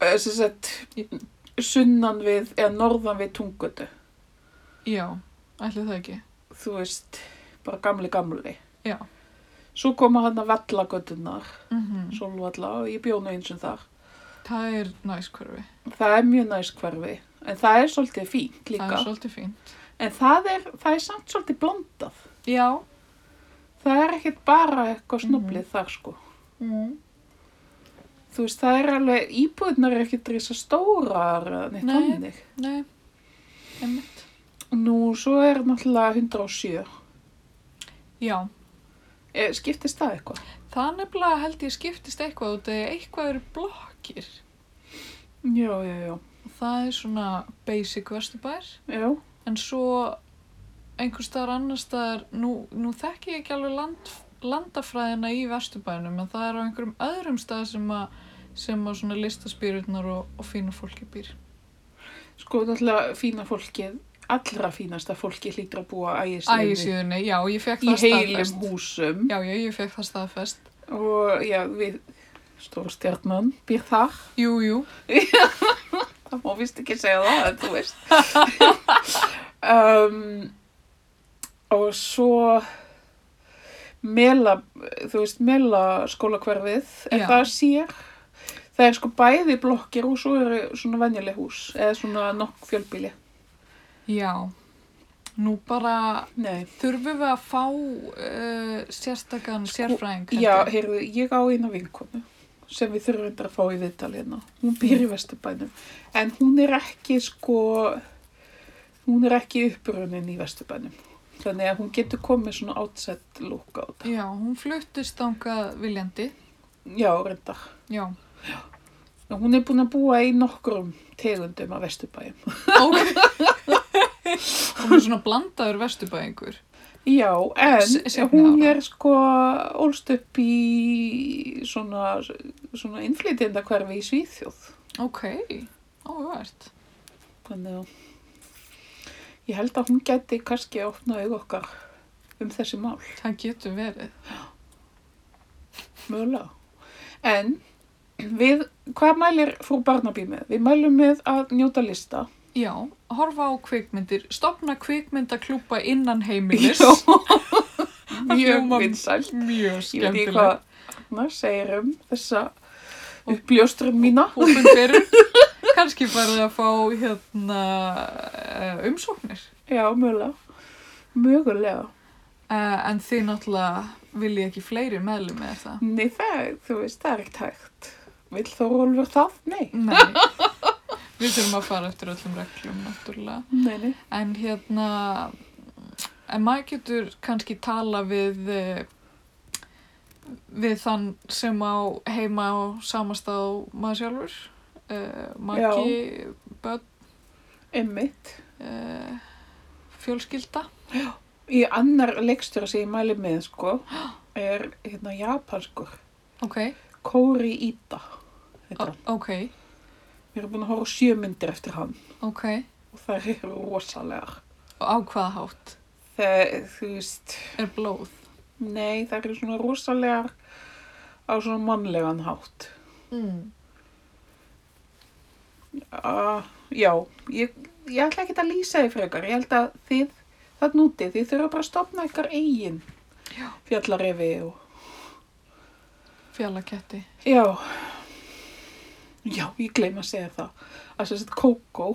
A: Þess að sunnan við, eða norðan við tungötu,
B: já, ætli það ekki.
A: þú veist, bara gamli gamli.
B: Já.
A: Svo koma hann að vallagötunar.
B: Mm
A: Sólvalla og ég bjó nú eins og þar.
B: Það er næskverfi.
A: Það er mjög næst hverfi, en það er svolítið fínt líka.
B: Það er svolítið fínt.
A: En það er, það er samt svolítið blandað.
B: Já.
A: Það er ekkert bara
B: Mhm.
A: eitthvað snoblið þar sko.
B: Mm.
A: Þú veist, það er alveg, íbúðnar er ekkert risa stórar eða neitt
B: Nei.
A: hannig.
B: Nei, emmitt.
A: Nú, svo er náttúrulega 107.
B: Já,
A: E, Eh, skiptist það eitthvað?
B: Það nefnilega held ég skiptist eitthvað út eða eitthvað eru blokkir.
A: Já, já, já.
B: Og það er svona basic vesturbær.
A: Já,
B: En svo einhvers staðar annar staðar, nú, nú þekki ég ekki alveg land, landafræðina í vesturbænum, en það er á einhverjum öðrum stað sem að, sem að svona listaspýrurnar og, og fína fólki býr.
A: sko náttúrulega fína fólkið, allra fínasta fólkið hlýtur að búa ægisíðinni
B: Ægisíðunni, já, ég fekk
A: í
B: það
A: heilum
B: staðfest.
A: húsum
B: Já, já, ég fekk það staðfest.
A: og já, við stórstjarnan býr þar.
B: Jú, jú,
A: Það má vist ekki segja það, en þú veist. um, og svo mela, þú veist, mela skólakverfið, ef
B: Já.
A: það sér. Það er sko bæði blokkir og svo eru svona venjuleg hús, eða svona nokk fjölbíli.
B: já. Nú bara
A: Nei.
B: þurfum við að fá uh, sérstakann sérfræðing. held
A: Sko, Já,
B: ég.
A: heyrðu, ég á eina vinkonu sem við þurfum reyndar að fá í viðtal hérna. Hún býr í
B: Mm.
A: Vesturbænum, en hún er ekki sko, hún er ekki upprunin í Vesturbænum. Þannig að hún getur komið svona outside look á þetta.
B: Já, hún fluttist þangað viljandi.
A: Já, reyndar.
B: Já,
A: En Hún er búin að búa í nokkrum tegundum af Vesturbæjum.
B: ok. hún er svona blandaður vesturbæðingur.
A: Já, en
B: S- seinni
A: hún
B: ára.
A: er sko ólst upp í svona, svona innflytjendakverfi í Svíþjóð.
B: Ok, áhugvært.
A: Þannig að ég held að hún geti kannski opnað auð okkar um þessi mál,
B: Það getur verið.
A: mögulega. En við, hvað mælir frú Barnaby með? Við mælum með að njóta lista.
B: Já, horfa á kvikmyndir, stopna kvikmyndaklúpa innan heimilis.
A: mjög
B: hljómar-
A: vinsæl. Ég veit
B: Mjög
A: ekki
B: skemmtileg.
A: hvað Agnar segir um þessa uppljósturum mína.
B: Hópin fyrir, kannski farið að fá hérna eh, umsóknir.
A: Já, mögulega. Mögulega.
B: Uh, en þið náttúrulega vilja ekki fleiri meðlum með það.
A: Nei, það, þú veist, það er ekkert hægt. Vill Þórólfur það? Nei.
B: Nei, við þurfum að fara eftir öllum reglum náttúrulega.
A: Nei, nei.
B: En hérna, en maður getur kannski tala við, eh, við þann sem á heima á samastað maður sjálfur, uh, maki, börn,
A: Emmitt.
B: uh, fjölskylda.
A: Í annar leikstjóra sem ég mæli með sko er hérna japanskur,
B: Ok,
A: Kóri Íta.
B: o-
A: Þetta.
B: ok,
A: Við erum búin að horfa á sjö myndir eftir hann
B: ok.
A: og það eru rosalegar.
B: Og á hvaða hátt
A: Það, þú veist,
B: er blóð?
A: nei það eru svona rosalegar á svona mannlegan hátt.
B: Mm.
A: Uh, já, ég, ég ætla ekki að lýsa því frekar. Ég held að þið, það nútið, þið þurfa bara að stopna ykkar eigin
B: Já.
A: fjallarefi og
B: Fjallaketti.
A: Já, já, ég gleym að segja það. Að sem sagt Kókó,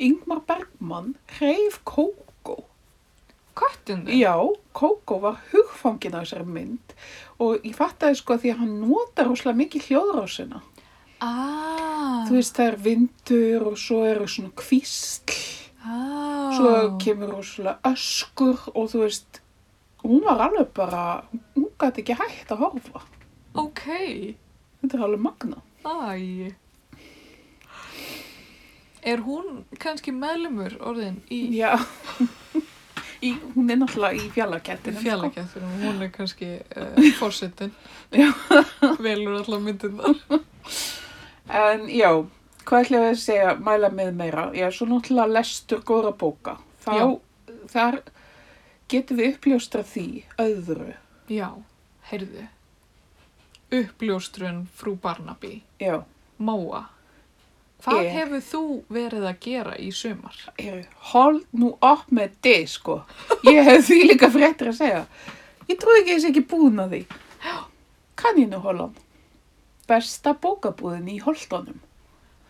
A: Ingmar Bergmann hreif Kókó.
B: Köttinu?
A: Já, Kókó var hugfangin á þessari mynd og ég fattaði sko að því að hann notar rosalega mikið hljóðrásina.
B: Ah,
A: Þú veist, það er vindur og svo eru svona kvísl,
B: ah.
A: svo kemur rosalega öskur og þú veist, hún var alveg bara, hún gæti ekki hægt að horfa.
B: Ok,
A: Þetta er alveg magna.
B: æ. Er hún kannski meðlumur orðin í
A: Já, í, hún er náttúrulega í sko. fjallakettinu.
B: fjallakjættunum? Hún er kannski uh, fórsetin.
A: Já.
B: Velur allar myndirnar.
A: En já, hvað ætlum við að segja, mæla með meira? Já, svo náttúrulega lestur góðra bóka. Þá, þar getum við uppljóstra því öðru.
B: Já, heyrðu. Uppljóstrun frú Barnaby.
A: Já,
B: Móa. Hvað
A: Ég.
B: hefur þú verið að gera í sumar?
A: heyrðu, hold nú upp með þið, sko. Ég hef því líka fréttir að segja. Ég trúi ekki að ég sé ekki búin að því. Kanninu Holland. Besta bókabúðin í Holtonum.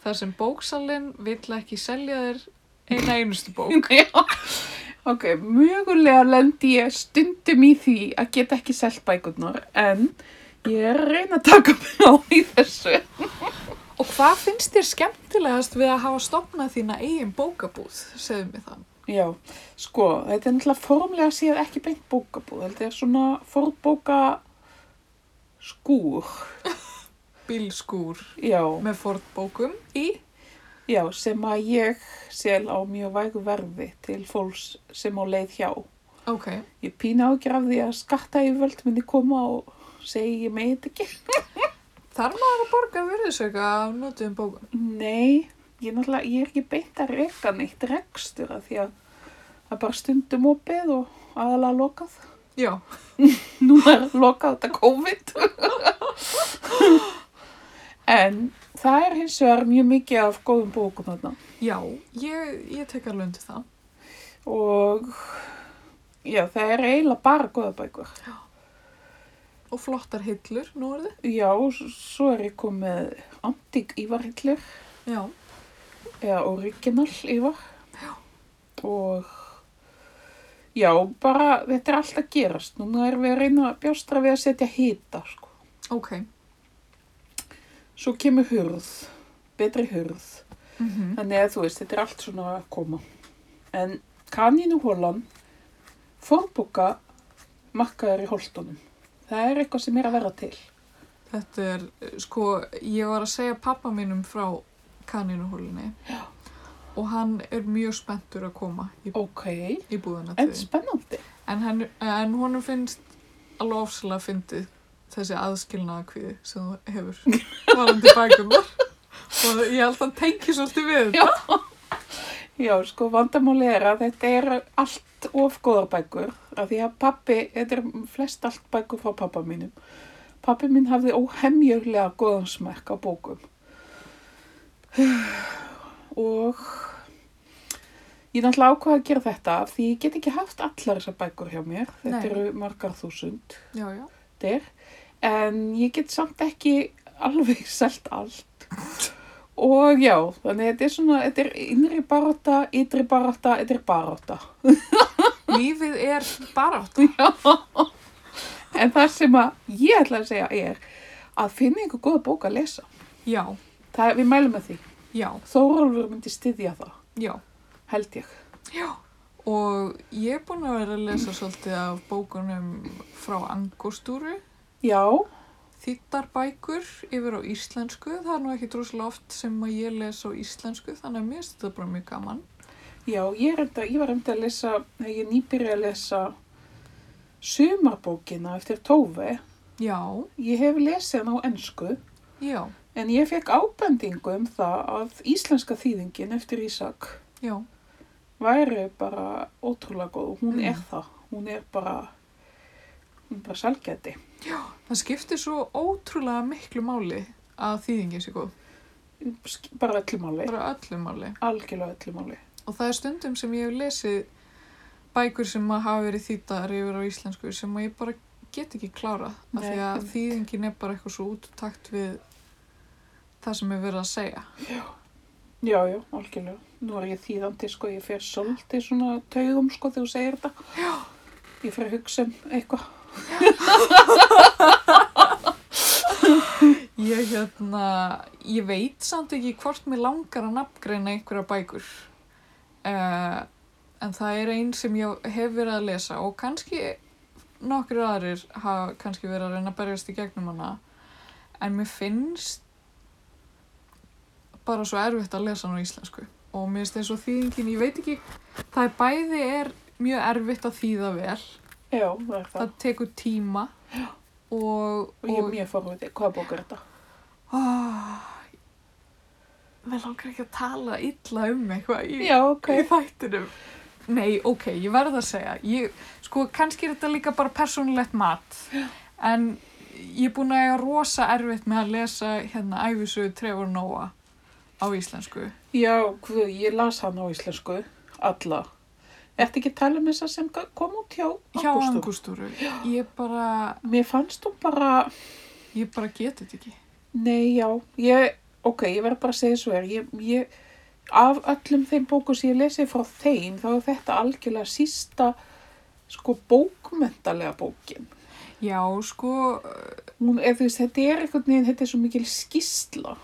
B: Þar sem bóksalinn vill ekki selja þér eina einustu bók.
A: Já, ok, mögulega lendi ég stundum í því að geta ekki selt bækurnar en ég er að reyna að taka mig á í þessu.
B: Og hvað finnst þér skemmtilegast við að hafa stopnað þína eigin bókabúð, segðu mig það.
A: Já, sko, þetta er náttúrulega formlega séð ekki beint bókabúð, þetta er svona fórbóka skúr,
B: bílskúr
A: já,
B: með fordbókum í
A: já, sem að ég sel á mjög vægu verði til fólks sem á leið hjá.
B: ok,
A: Ég pína ágjur af því að skatta yfirvöld myndi koma og segi ég með þetta ekki.
B: þarf maður að borga virðisauka af notuðum bókum
A: Nei, ég, náttúrulega- ég er ekki beint að reka neitt rekstur af því að það er bara stundum opið og aðalega lokað.
B: já,
A: Nú er lokað þetta COVID. en það er hins vegar mjög mikið af góðum bókum þarna.
B: já, ég, ég tek alveg undir það
A: Og já, það er eiginlega bara góða bækur.
B: og flottar hillur nú er
A: Já, s- svo er ég komið Antík Ívarhillur
B: þið já,
A: eða Original Ívar. Og já, bara þetta er allt að gerast. Núna erum við að reyna að bjástra við að setja hýta, sko.
B: ok
A: Svo kemur hurð, betri hurð.
B: mm -hmm.
A: Þannig að þú veist, þetta er allt svona að koma. En kanínu hólan, fornbúka makkaður í holtunum. Það er eitthvað sem er að vera til.
B: Þetta er, eh, sko, ég var að segja pappa mínum frá kanínuhúlinni og hann er mjög spenntur að koma í,
A: Ok,
B: í búðina til
A: en
B: þín.
A: spennandi.
B: En, hann, en honum finnst alveg ofsalega fyndið þessi aðskilnaðakvíði sem þú hefur varandi bækunar og ég held að hann tengi svolítið við þetta.
A: Já, sko, vandamáli er að þetta er allt of góðar bækur. Af því að pappi, þetta er flest allt bækur frá pappa mínum. Pappi mín hafði óhemjulega góðan smekk á bókum. Og ég náttúrulega ákvaða að gera þetta af því ég get ekki haft allar þessar bækur hjá mér. Þetta
B: Nei.
A: eru margar þúsund.
B: Já, já.
A: Þetta er. En ég get samt ekki alveg selt allt. Og já, þannig að þetta er svona, þetta er innri barátta, ytri barátta, þetta er barátta.
B: Lífið er barátt.
A: En það sem að ég ætla að segja er að finna einhver góða bók að lesa.
B: Já,
A: Það, við mælum með því.
B: já,
A: Þórólfur myndi styðja það,
B: já.
A: held ég.
B: Og ég er búin að vera að lesa svolítið af bókunum frá Angostúru
A: Já,
B: þýttar bækur yfir á íslensku. Það er nú ekki droslega oft sem að ég les á íslensku, þannig að mér finnst þetta bara mjög gaman.
A: já, ég, reynda, ég var reynda að lesa, nei, ég nýbyrja að lesa sumarbókina eftir Tófi.
B: Já,
A: Ég hef lesið hann á ensku,
B: já,
A: en ég fekk ábendingu um það að íslenska þýðingin eftir Ísak
B: já,
A: væri bara ótrúlega góð og hún
B: Mm.
A: er það. Hún er bara, hún er bara sælgæti.
B: það skiptir svo ótrúlega miklu máli að þýðingin sé góð.
A: Bara öllu máli,
B: Bara öllu máli.
A: algjörlega öllu máli.
B: Og það er stundum sem ég hef lesið bækur sem að hafa verið þýttar yfir á íslensku sem að ég bara get ekki klárað. Af
A: Nei,
B: því að
A: einmitt.
B: þýðingin er bara eitthvað svo út úr takt við það sem er verið að segja.
A: Já, já, algjörlega. Nú er ég þýðandi, sko, ég fer svolítið svona taugum, sko, þegar þú segir þetta. Já. Ég fer að hugsa um eitthvað.
B: Ég hérna, ég veit samt ekki hvort mér langar að nafngreina einhverja bækur. Uh, en það er einn sem ég hef verið að lesa og kannski nokkur aðrir hafa kannski verið að reyna að berjast í gegnum hana. En mér finnst bara svo erfitt að lesa hann á íslensku. Og mér finnst eins og þýðingin, ég veit ekki, það er bæði er mjög erfitt að þýða vel.
A: Já, það er það.
B: Það tekur tíma og...
A: og ég er mjög forvitið, hvaða bók er þetta?
B: Oh, mér langar ekki að tala illa um eitthvað í,
A: Já, ok.
B: í þættinum. Nei, ok, ég verð að segja. Ég, sko, kannski er þetta líka bara persónulegt mat. En ég er búin að eiga rosa erfitt með að lesa hérna æfisögu Trevor Noah á íslensku.
A: Já, hvað, ég las hann á íslensku, alla. Ertu ekki að tala um þessa sem ga- kom út hjá
B: Hjá
A: Ágústu?
B: Angustúru. Ég bara,
A: Mér fannst hún bara,
B: ég bara get þetta ekki.
A: nei, já, ég, ok, ég verð bara að segja svo er, ég, ég, af öllum þeim bókum sem ég lesið frá þeim, þá er þetta algjörlega sísta, sko, bókmentalega bókin.
B: Já, sko,
A: Hún, eða þú veist, þetta er einhvern veginn, þetta er svo mikil skýrsla.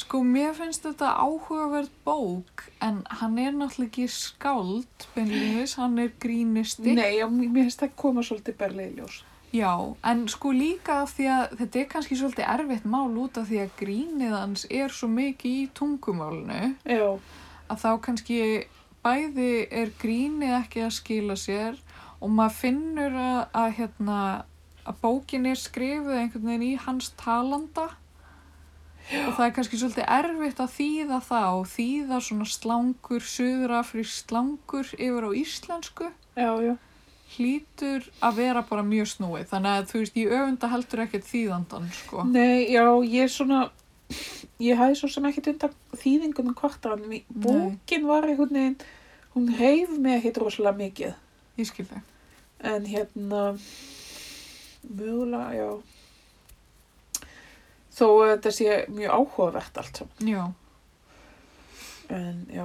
B: Sko, mér finnst þetta áhugaverð bók, en hann er náttúrulega ekki skáld, beinlinis, hann er grínisti.
A: Nei, já, mér mér finnst það koma svolítið berlega í ljós.
B: Já, en sko líka af því að þetta er kannski svolítið erfitt mál út af því að grínið hans er svo mikið í tungumálinu
A: Já,
B: að þá kannski bæði er grínið ekki að skila sér og maður finnur að, að hérna að bókin er skrifuð einhvern veginn í hans talanda og það er kannski svolítið erfitt að þýða það og þýða svona slangur, suðurafri slangur yfir á íslensku
A: já, já.
B: hlýtur að vera bara mjög snúið þannig að þú veist, ég öfunda heldur ekkert þýðandan sko.
A: Nei, já, ég svona, ég hæði svo sem ekkit undan um þýðingunum kvartan. Bókin var einhvern veginn, hún reyf mig ekkit rosalega mikið.
B: Ég skil það.
A: En hérna, mögulega, já. Þó að þetta sé mjög áhugavert allt saman.
B: Já,
A: En já,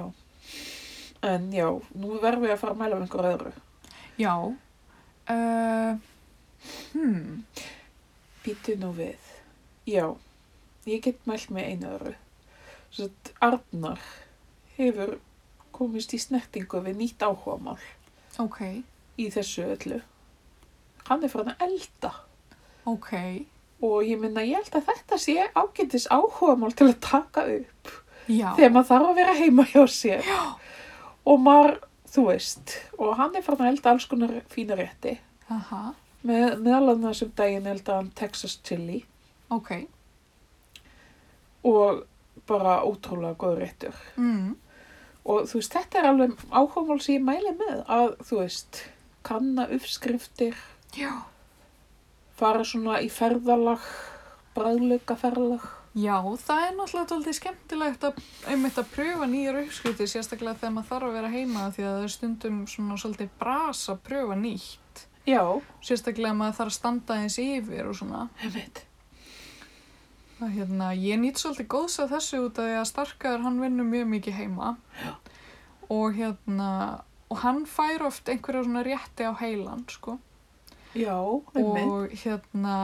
A: en já, nú verðum við að fara að mæla um einhverju öðru.
B: já. Uh, hmm.
A: Býtu nú við. Já, ég get mælt með einu öðru. Svo að Arnar hefur komist í snertingu við nýtt áhugamál
B: Ok,
A: í þessu öllu. Hann er farin að elda
B: ok,
A: og ég minna ég held að þetta sé ágætis áhugamál til að taka upp
B: já,
A: þegar maður þarf að vera heima hjá sér. Já. Og maður, þú veist, og hann er farin að elda alls konar fína rétti.
B: aha,
A: Með, meðal annars um daginn elda hann Texas chili.
B: ok,
A: og bara ótrúlega góð réttur.
B: mm.
A: Og þú veist, þetta er alveg áhugamál sem ég mæli með að, þú veist, kanna uppskriftir,
B: já,
A: fara svona í ferðalag, bræðlöka ferðalag.
B: já, það er náttúrulega tóltið skemmtilegt að einmitt að pröfa nýjar uppskriftir, sérstaklega þegar maður þarf að vera heima því að það er stundum svona svolítið bras að pröfa nýtt,
A: Já,
B: sérstaklega maður þarf að standa eins yfir og svona.
A: einmitt.
B: Það hérna, ég nýtt svolítið góðs að þessu út af því að starkaður hann vinnur mjög mikið heima og hérna, og hann fær oft einhverja svona rétti á heilan, sko.
A: Já, einmitt.
B: og hérna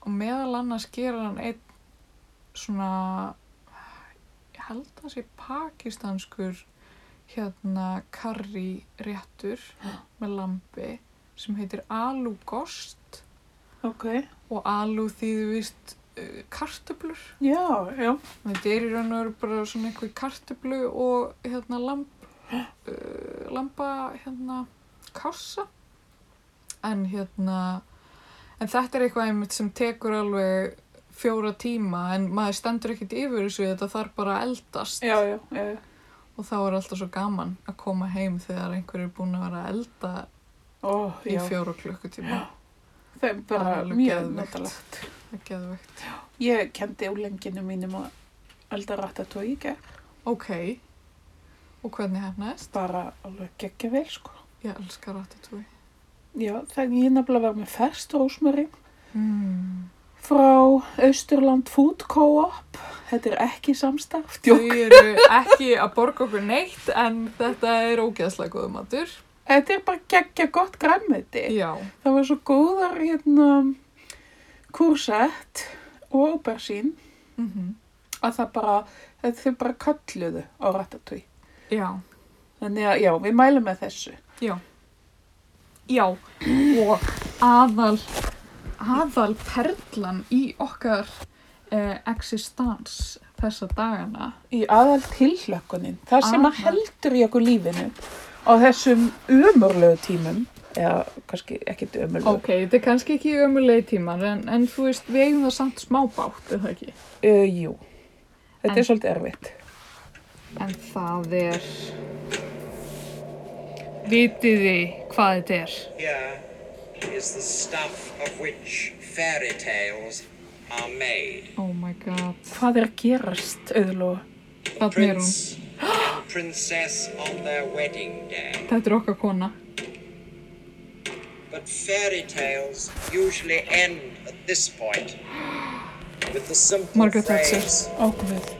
B: og meðal annars gera hann einn svona ég held að sé pakistanskur hérna karri réttur með lambi sem heitir alú gost
A: Ok,
B: og alú þýðu vist uh, kartöblur
A: já, já,
B: þetta er í raun og veru bara svona einhver kartöblu og hérna lamb uh, lamba hérna kássa en hérna en þetta er eitthvað einmitt sem tekur alveg fjóra tíma en maður stendur ekkert yfir þessu þetta þarf bara að eldast
A: já, já, já, já.
B: og þá er alltaf svo gaman að koma heim þegar einhver er búin að vera að elda
A: Ó,
B: í
A: já,
B: fjóra klukkutíma
A: það er
B: Það
A: bara
B: er alveg
A: mjög
B: geðveikt.
A: notalegt.
B: það er geðvegt
A: Ég kendi úlenginu mínum að elda ratatouille í gegn,
B: ok, og hvernig hefnaðist?
A: bara alveg geggja vel, sko.
B: ég elskar ratatúi
A: Já, það ég nefnilega var með ferst rósmari
B: mm.
A: frá Austurland Food Co-op. Þetta er ekki samstarf. Djók.
B: Þau eru ekki að borga okkur neitt en þetta er ógeðslega góðu matur.
A: Þetta er bara geggja gott græmmiti.
B: Já,
A: Það var svo góðar hérna kursett og aubersín
B: mm
A: að það bara, að þau bara kalluðu á ratatúi.
B: já,
A: Þannig að já, við mælum með þessu.
B: já. Já, og aðal, aðal perlan í okkar eh, existans þessa dagana.
A: Í aðal tilhlökkunin, það sem að
B: Aðal.
A: heldur í okkur lífinu á þessum umurlegu tímum, eða kannski ekkit umurlegu.
B: Ok, þetta er kannski ekki ömulegi tímar en, en þú veist, við eigum það samt smá bátt, er það ekki?
A: Uh, jú, þetta
B: En-
A: er svolítið erfitt.
B: En það er... Vitiði hvað þetta er?
C: Here is the stuff of which fairy tales are made.
B: Oh my god,
A: Hvað er að gerast, auðlóa?
B: þarna er hún.
C: Prince and princess on their wedding day.
B: Þetta er okkar kona.
C: But fairy tales usually end at this point with the simple
B: Margaret Thatcher.
C: phrase,
A: Ákveð.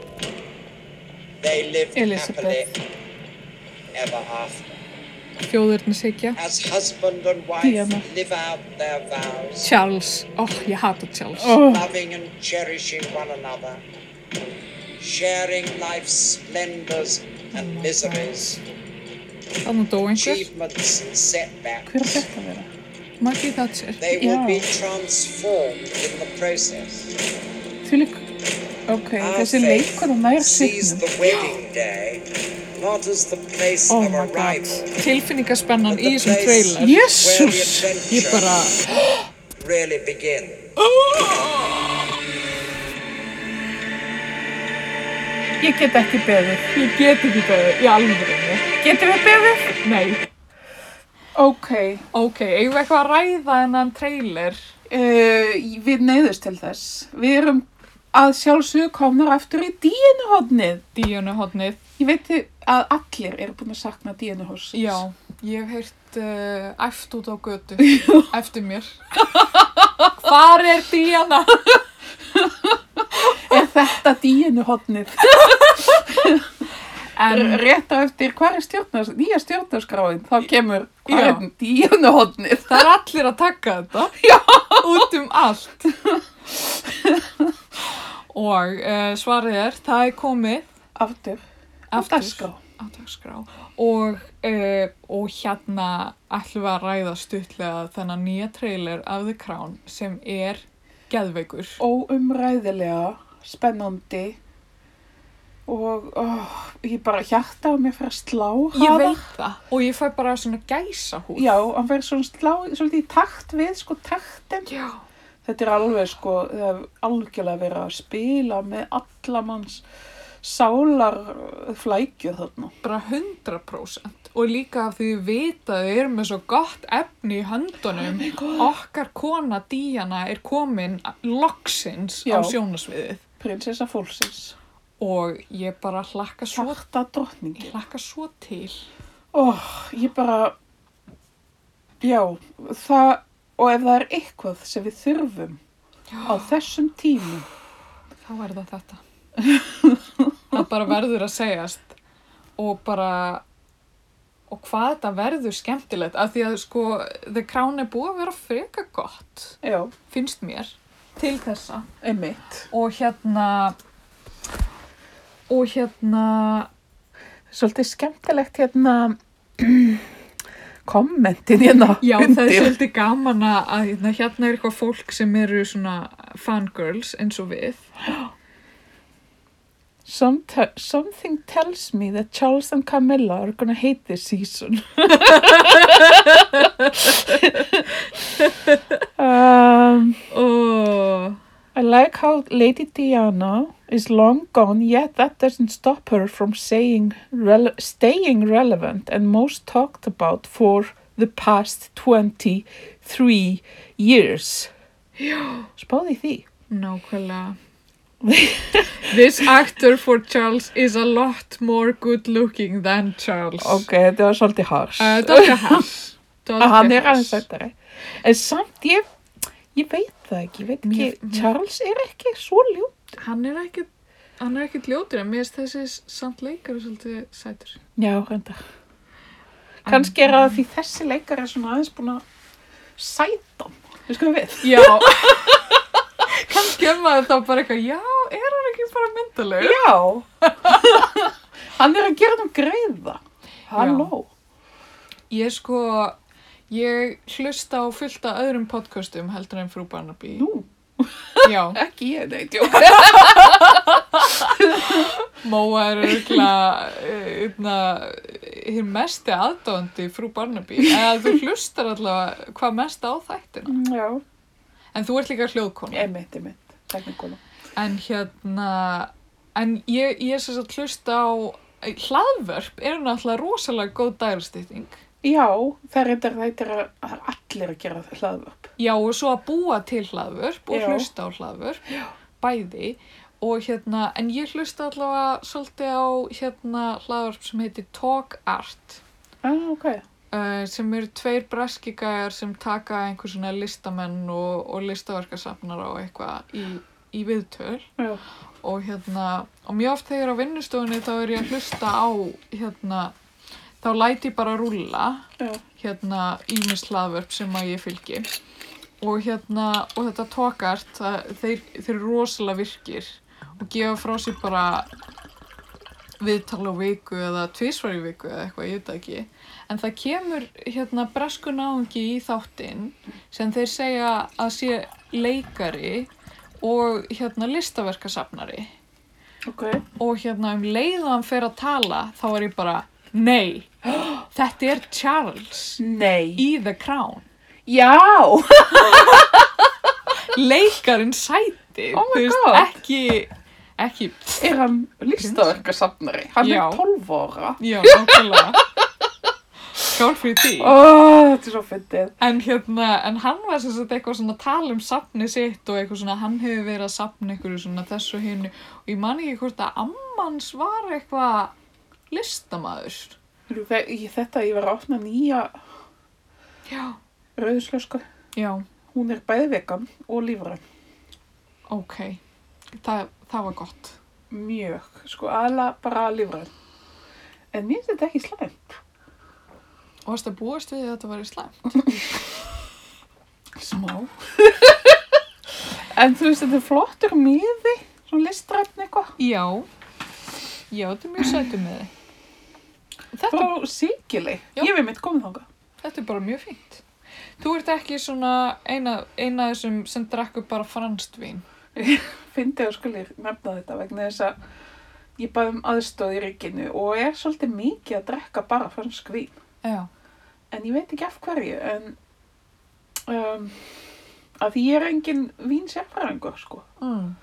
C: they lived
A: Elizabeth.
C: happily ever after.
B: Þjóðurni Sigja.
C: As husband and wife
A: Diana.
C: live out their vows,
B: Charles. Ó, ég hata Charles.
C: loving and cherishing one another, sharing life's splendors
B: Oh
C: and miseries.
B: Þannig dó einhver.
C: achievements and
A: Hver er
C: setbacks,
A: þetta vera?
B: Maggie Thatcher.
C: They will
A: Já.
C: be transformed in the process.
A: Því lík, ok,
C: Our
A: þessi
C: faith
A: leikur og nær
C: sees
A: signum.
C: the wedding day not as the place
B: Oh
C: of
B: my god.
C: arrival,
B: Tilfinningaspennan í þessum trailer.
C: Yes.
A: Jésús!
B: Ég bara,
C: really begins.
A: Ég get ekki beðið.
B: ég get ekki beðið, í alveg.
A: Getum við beðið?
B: Nei.
A: Ok,
B: Ok, eigum við eitthvað að ræða hennan trailer?
A: uh, við neyðust til þess. Við erum að sjálfsögur komnar aftur í díunuhotnið.
B: Díunu hotnið.
A: Ég veit þið að allir eru búin að sakna díunuhors.
B: Já, ég hef heyrt uh, æft út á götu. Eftir mér. Hvar er Díana?
A: Er þetta díunuhotnið?
B: En,
A: Rétt á eftir, hvað er stjórnars, nýja stjórnarskráin? Þá kemur, hvað
B: Já.
A: er díunuhotnið?
B: Það er allir að taka þetta Já. út um allt og uh, svarið er það er komið
A: Aftur.
B: aftur
A: dagskrá.
B: á dagskrá og, uh, og hérna ætlum við að ræða stuttlega þennan nýja trailer af The Crown sem er geðveikur
A: óumræðilega spennandi og oh, ég bara hjarta á mér fyrir að slá
B: ég
A: hraðar.
B: veit það og ég fæ bara svona gæsa húð
A: Já, hann fyrir svona slá, svolítið í takt við, sko, taktin.
B: Já.
A: Þetta er alveg, sko, það er algjörlega verið að spila með allamanns sálar uh, flækju þarna.
B: bara 100% og líka af því við vita að við erum með svo gott efni í höndunum okkar kona Díana er komin loksins
A: Já.
B: á sjónasviðið
A: Prinsessa fólksins,
B: og ég bara hlakka svo,
A: hjarta drottningi.
B: hlakka svo til
A: Ó, ég bara, já, það, og ef það er eitthvað sem við þurfum á þessum tímum,
B: þá er það þetta það bara verður að segjast og bara og hvað þetta verður skemmtilegt af því að sko The Crown er búið að vera freka gott
A: já,
B: finnst mér til þessa
A: einmitt.
B: og hérna og hérna
A: svolítið skemmtilegt hérna kommentin hérna
B: já það er
A: undir.
B: svolítið gaman að að hérna, hérna er eitthvað fólk sem eru svona fangirls eins og við
A: Some te- Something tells me that Charles and Camilla are gonna hate this season um,
B: og
A: I like how Lady Diana is long gone yet that doesn't stop her from saying rele staying relevant and most talked about for the past 23 years Já Spáði í því
B: nákvæmlega This actor for Charles is a lot more good looking than Charles
A: Ok, þetta var svolítið hars.
B: uh, Dóttir Hans
A: að hann er aðeins þetta. En samt ég, ég veit það ekki, ég veit ekki,
B: Mér- mér-
A: Charles er ekki svo ljó.
B: hann er ekki hann er ekki ljótur en mér finnst þessi samt leikari svolítið sætur
A: Já, reynda. Kannski er það því þessi leikar er svona aðeins búin að sæta hann. Við skoðum við.
B: Já Kannski er maður þá bara eitthvað Já, er hann ekki bara myndalegur?
A: Já. hann er að gera hann greiða. Halló.
B: Ég sko, ég hlusta á fullta öðrum podcastum heldur en frú Barnaby
A: Nú,
B: Já,
A: ekki ég, nei, tjóka.
B: Móa er örgulega hér mesti aðdóndi frú Barnaby eða þú hlustar allavega hvað mest á þættina
A: Já,
B: en þú ert líka hljóðkona
A: einmitt, einmitt, teknikóla.
B: En hérna, en ég, ég sem sagt hlusta á eh, hlaðvörp er náttúrulega rosalega góð dælstýting
A: Já, það er reyndar, þetta er að, það er allir að gera hlaðvörp.
B: Já, og svo að búa til hlaðvörp og
A: Já.
B: hlusta á hlaðvörp, bæði og hérna, en ég hlusta allavega svolítið á hérna hlaðvörp sem heitir Talk Art
A: Ah, ok.
B: uh, sem eru tveir breskigæjar sem taka einhver svona listamenn og, og listaverkasafnar og eitthvað í, í viðtöl
A: Já.
B: og hérna, og mjög oft þegar ég er á vinnustofunni þá er ég að hlusta á hérna, þá læti ég bara rúlla
A: Já.
B: hérna ímis hlaðvörp sem að ég fylgi og hérna, og þetta tókart það, þeir, þeir eru rosalega virkir og gefa frá sér bara viðtal á viku eða tvísvar í viku eða eitthvað, ég veit það ekki. En það kemur hérna breskun áhengi í þáttinn sem þeir segja að sé leikari og hérna listaverkasafnari.
A: Ok.
B: Og hérna um leið og hann fer að tala þá er ég bara, nei, þetta er Charles
A: Nei.
B: í The Crown.
A: Já!
B: leikarinn sæti
A: Oh my
B: þú
A: God.
B: ekki ekki,
A: Er hann listaverkasafnari? Hann
B: Já.
A: er 12 ára.
B: já, nákvæmlega skál fyrir því
A: Ó, þetta er svo fyndið.
B: en hérna, en hann var sem sagt eitthvað svona að tala um safni sitt og eitthvað svona hann hefur verið að safna einhverju svona þessu hinu og ég man ekki hvort að ammans var eitthvað listamaður
A: Heyrðu, þe- ég- Þetta, ég var að opna nýja
B: já,
A: rauðslösku.
B: já,
A: Hún er bæði vegan og lífrann.
B: ok það, það var gott
A: Mjög. Sko, aðla bara lífrann. En mér finnst þetta ekki slæmt.
B: og varst að búast við að þetta var í slæm
A: Smá. en þú veist, þetta er flottur miði. Svona listræfn eitthvað.
B: já, já, þetta er mjög sætum með þið þetta
A: Frá síkili.
B: Já.
A: Ég við mitt komið þangað.
B: Þetta er bara mjög fínt. Þú ert ekki svona eina, eina af þessum sem drakk upp bara franskt vín.
A: fyndi að skuli nefna þetta vegna þess að ég bæði um aðstóð í ríkinu og er svolítið mikið að drekka bara fransk vín.
B: Já.
A: En ég veit ekki af hverju, en um, að því ég er engin vín sérfræðingur, sko.
B: Mm.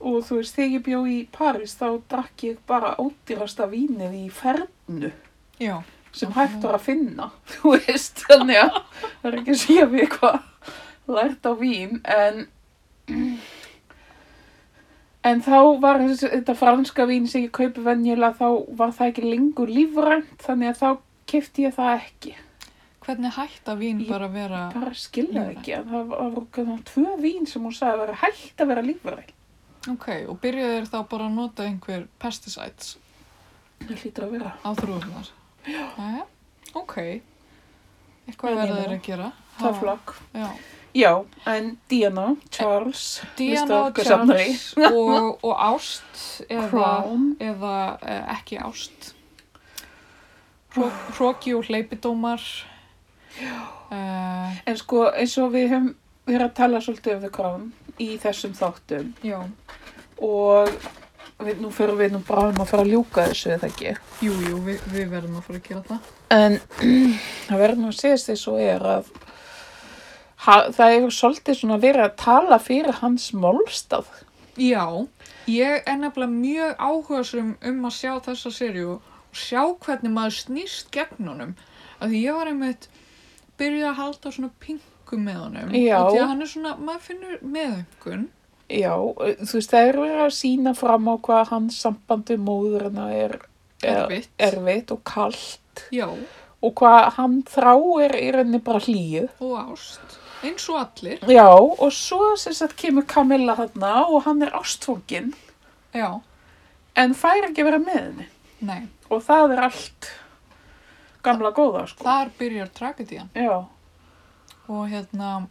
A: Og þú veist, þegar ég bjó í París þá drakk ég bara ódýrasta vínið í fernu
B: Já.
A: sem hægt var að finna, þú veist, þannig að það er ekki að sé við eitthvað lært á vín, en en þá var þessi- þetta franska vín sem ég kaupi venjulega, þá var það ekki lengur lífrænt, þannig að þá kefti ég það ekki.
B: Hvernig hætta vín
A: Ég-
B: bara að vera...
A: Bara skilja það
B: Lífrænt.
A: ekki, en það var- voru svona tvö vín sem hún sagði að vera hægt að vera lífrænt.
B: Ok, og byrjuðu þér þá bara að nota einhver pesticides
A: Það hlýtur að vera.
B: á þrúðunar? Já. Jæja, ok.
A: Ég
B: Eitthvað verður
A: meina
B: þeir að gera.
A: Það er
B: Ha,
A: flokk.
B: Já.
A: Já, en Diana, Charles,
B: Diana og
A: listaverkasafnari,
B: Charles og, og ást eða,
A: Crown.
B: eða e, ekki ást. Hróki og hleypidómar. Uh,
A: En sko, eins og við höfum verið að tala svolítið um The Crown í þessum þáttum
B: já,
A: og við, nú fyrir við nú bráðum að fara að ljúka þessu eða ekki.
B: jú, jú, við, við verðum að fara að gera það.
A: En það verður nú að segjast eins og er að ha, það hefur svolítið svona verið að tala fyrir hans málstað.
B: Já, ég er nefnilega mjög áhugasum um að sjá þessa seríu og sjá hvernig maður snýst gegn honum. Af því ég var einmitt byrjuð að halda svona pingu með honum.
A: Já.
B: Af Því að hann er svona, maður finnur meðöngun.
A: Já, eh, þú veist, það er verið að sína fram á hvað hans sambandi móðurina er er-
B: Erfitt.
A: erfitt og kalt
B: Já,
A: og hvað hann þráir í rauninni bara hlýju.
B: og ást. Eins og allir.
A: Já, og svo sem sagt kemur Camilla þarna og hann er ástfókin
B: Já,
A: en fær ekki að vera með henni.
B: nei,
A: Og það er allt gamla góða, sko.
B: þar byrjar tragedían
A: Já,
B: og hérna,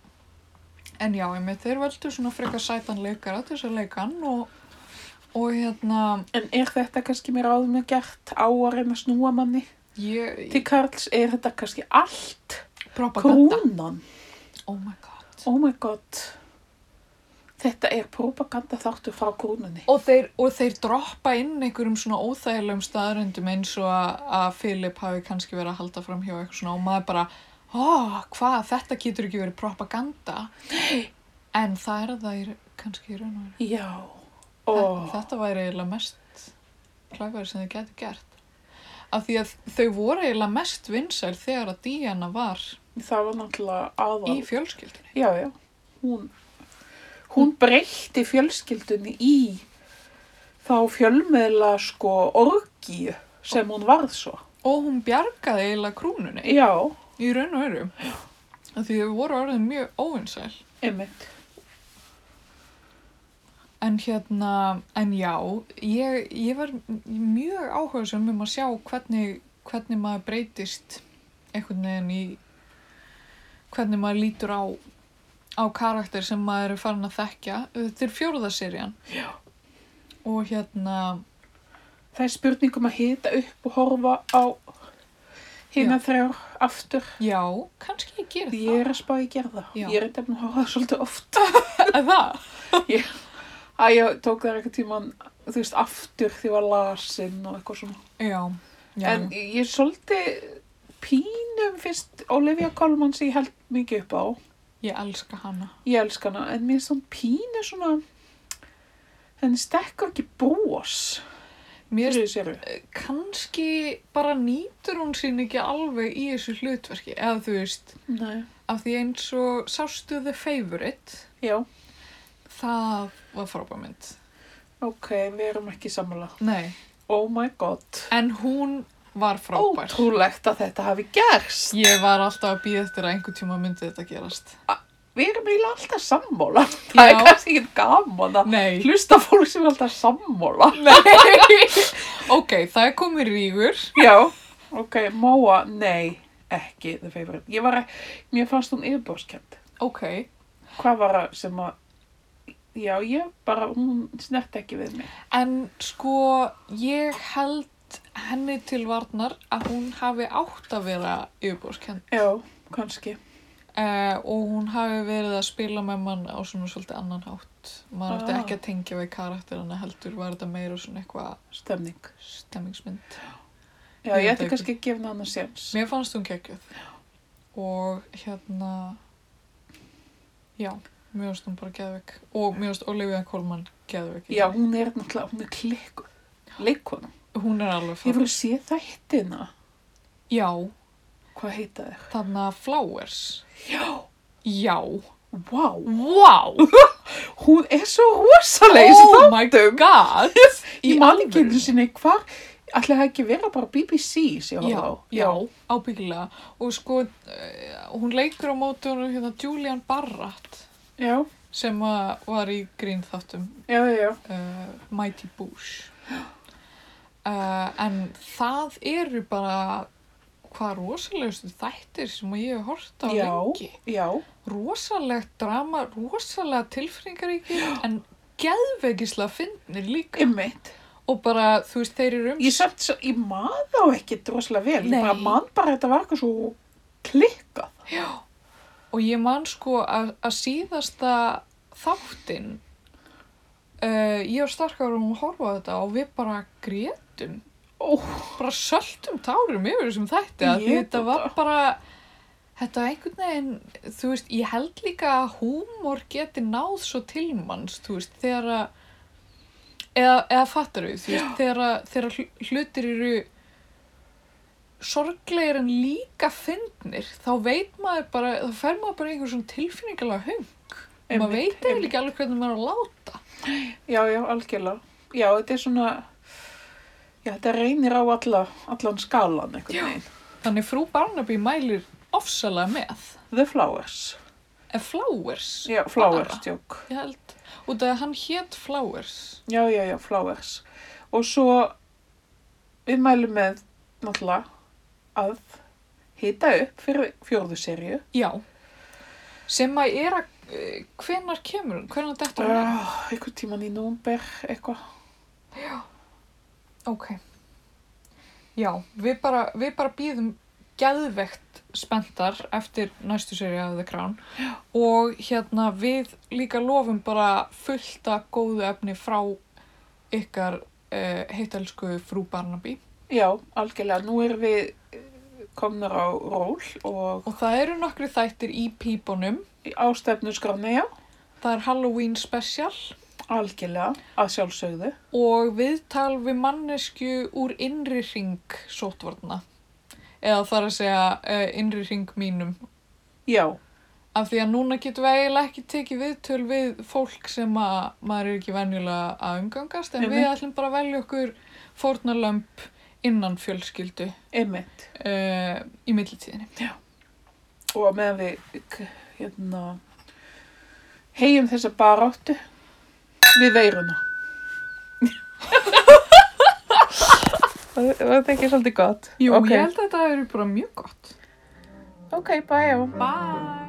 B: en já, einmitt, þeir völdu svona frekar sætan leikara til þess að leika hann og, og hérna,
A: en er þetta kannski mér áður með gert á að reyna að snúa manni?
B: ég,
A: Til Karls er þetta kannski allt
B: propaganda,
A: krúnan.
B: oh my god.
A: Oh my god. Þetta er propaganda þáttu frá krúnunni.
B: Og þeir, og þeir droppa inn einhverjum svona óþægilegum staðröndum eins og að, að Philip hafi kannski verið að halda fram hjá eitthvað svona og maður bara, ó, hvað, þetta getur ekki verið propaganda. En það er það í- kannski í raun og veru.
A: Já.
B: Þe-
A: Og
B: Þetta væri eiginlega mest klæfari sem þið getur gert. Af því að þau voru eiginlega mest vinsæl þegar að Diana var
A: það var náttúrulega aðal.
B: í fjölskyldunni.
A: Já, já. Hún, hún breytti fjölskyldunni í þá fjölmiðla sko orgíu sem hún varð svo.
B: Og hún bjargaði eiginlega krúnunni
A: Já,
B: í raun og öru. Af því þau voru orðin mjög óvinsæl.
A: einmitt.
B: En hérna, en já, ég, ég var m- mjög áhugaðsum um að sjá hvernig, hvernig maður breytist einhvern veginn í hvernig maður lítur á, á karakter sem maður er farin að þekkja. Þetta er fjórðaserjan. Já. Og hérna,
A: það er spurningum að hita upp og horfa á hina þrjár aftur.
B: Já, kannski ég gera
A: Ég er að spá í gerða.
B: Já.
A: Ég er eitthvað að horfa á það svolítið oft.
B: það. Er það?
A: Að ég tók það eitthvað tíman, þú veist, aftur því ég var lasin og eitthvað svona.
B: Já. Já.
A: En ég er svolítið pínum fyrst Olivia Colman sem ég held mikið upp á.
B: Ég elska hana.
A: Ég elska hana, en mér er svona pínu svona, henni stekkur ekki brós.
B: Mér
A: Fyrir sér.
B: kannski bara nýtur hún sín ekki alveg í þessu hlutverki. Eða þú veist,
A: Nei.
B: af því eins og sástu The Favourite,
A: Já,
B: það var frábæmynd.
A: ok, við erum ekki sammála.
B: Nei.
A: Oh my god.
B: En hún var frábær.
A: Ótrúlegt að þetta hafi gerst.
B: Ég var alltaf að býða eftir að einhver tíma myndi þetta gerast.
A: Við erum eiginlega alltaf sammála. Það er
B: Já.
A: kannski ekki gaman að
B: Nei.
A: hlusta á fólk sem er alltaf sammála.
B: Nei. ok, það er komið rígur.
A: Já, ok, Móa, nei, ekki The Favourite. Ég var ekki, mér fannst hún yfirborskjönd.
B: Ok.
A: Hvað var það sem að, já, ég bara, hún snert ekki við mig.
B: En sko, ég held henni til varnar að hún hafi átt að vera yfirbúrskenn
A: Já, kannski.
B: uh, og hún hafi verið að spila með mann á svona svolítið annan hátt. Maður átti
A: Ah.
B: ekki að tengja við karakterina heldur, var þetta meira svona eitthvað
A: Stemning.
B: stemmingsmynd.
A: Já,
B: Ég
A: ég
B: veit
A: ætti
B: ekki.
A: kannski að gefa henni annars séns.
B: Mér fannst hún geggjöð og hérna, já, mér fannst hún bara geðveik og mér fannst Olivia Colman geðveik. í
A: Já,
B: henni.
A: hún er náttúrulega, hún er klikku, leikona.
B: Hún er alveg
A: Hefur
B: frábær.
A: þú séð þættina?
B: Já,
A: Hvað heita þér?
B: þarna Flowers.
A: Já.
B: Já.
A: Vá,
B: Vá!
A: hún er svo rosaleg í
B: oh
A: þessum
B: my
A: þáttum.
B: god
A: Ég man ekki einu sinni hvar, ætlaði það ekki að vera bara BBC sem ég
B: já,
A: horfði á.
B: já, ábyggilega og sko, uh, hún leikur á móti hún hérna Julian Barrat
A: Já,
B: sem að var í grínþáttum
A: já, já, já.
B: uh, Mighty Boosh uh, en það eru bara hvað rosalegustu þættir sem ég hef hort á
A: Já.
B: lengi
A: Já,
B: rosalegt drama, rosalega tilfringaríkir en geðvegislega fyndnir líka
A: ymmit.
B: og bara, þú veist, þeir eru um
A: Ég samt svo, ég man þá ekki droslega vel.
B: Nei.
A: Ég bara man bara að þetta var eitthvað svo klikkað.
B: Og ég man sko að, að síðasta þáttinn, uh, ég og starkar um að horfa á þetta og við bara grétum,
A: Ó,
B: bara söltum tárum yfir þessum þætti að
A: Ég
B: þetta var bara, þetta var einhvern veginn, þú veist, ég held líka að húmor geti náð svo til manns, þú veist, þegar að, eða, eða fattar við, þú veist, þegar að, þegar að hl- hlutir eru sorglegir en líka fyndnir, þá veit maður bara, þá fer maður bara í einhver svona tilfinningalega hung. og
A: Einmitt,
B: maður veit eiginlega
A: einmitt.
B: ekki alveg hvernig maður á að láta.
A: já, já, algjörlega. Já, þetta er svona, já, þetta reynir á alla, allan skalan einhvern veginn.
B: Þannig frú Barnaby mælir ofsalega með.
A: The Flowers.
B: En Flowers,
A: Já, Flowers, tjók.
B: ég held, út af að hann hétt Flowers.
A: Já, já, já, Flowers. Og svo við mælum með náttúrulega að hita upp fyrir fjórðu serju.
B: Já. Sem að er að, eh, hvenær kemur hún? Hvenær dettur hún? inn?
A: Uh, einhvern tíman í nómber, eitthvað.
B: Ok. Já, við bara, við bara býðum geðvegt spenntar eftir næstu séri af The Crown og hérna við líka lofum bara fullt af góðu efni frá ykkar uh, heitelsku frú Barnaby
A: Já, algjörlega. Nú erum við eh, komnar á ról og
B: og það eru nokkri þættir í pípunum
A: ástefnu skrána, já,
B: það er Halloween special
A: algjörlega, að sjálfsögðu.
B: og viðtal við mannesku úr innri ring sótvarna eða þar að segja uh, innri ring mínum
A: Já,
B: Af því að núna getum við eiginlega ekki tekið viðtöl við fólk sem að maður er ekki venjulega að umgangast en við
A: Einmitt.
B: ætlum bara að velja okkur fórnarlömp innan fjölskyldu
A: einmitt.
B: uh, í millitíðinni.
A: Og á meðan við, k- hérna, hegjum þessa baráttu við veiruna. Var þetta ekki svolítið gott?
B: Jú,
A: Ok.
B: ég held að þetta eru bara mjög gott.
A: Okay, bye.
B: Bye!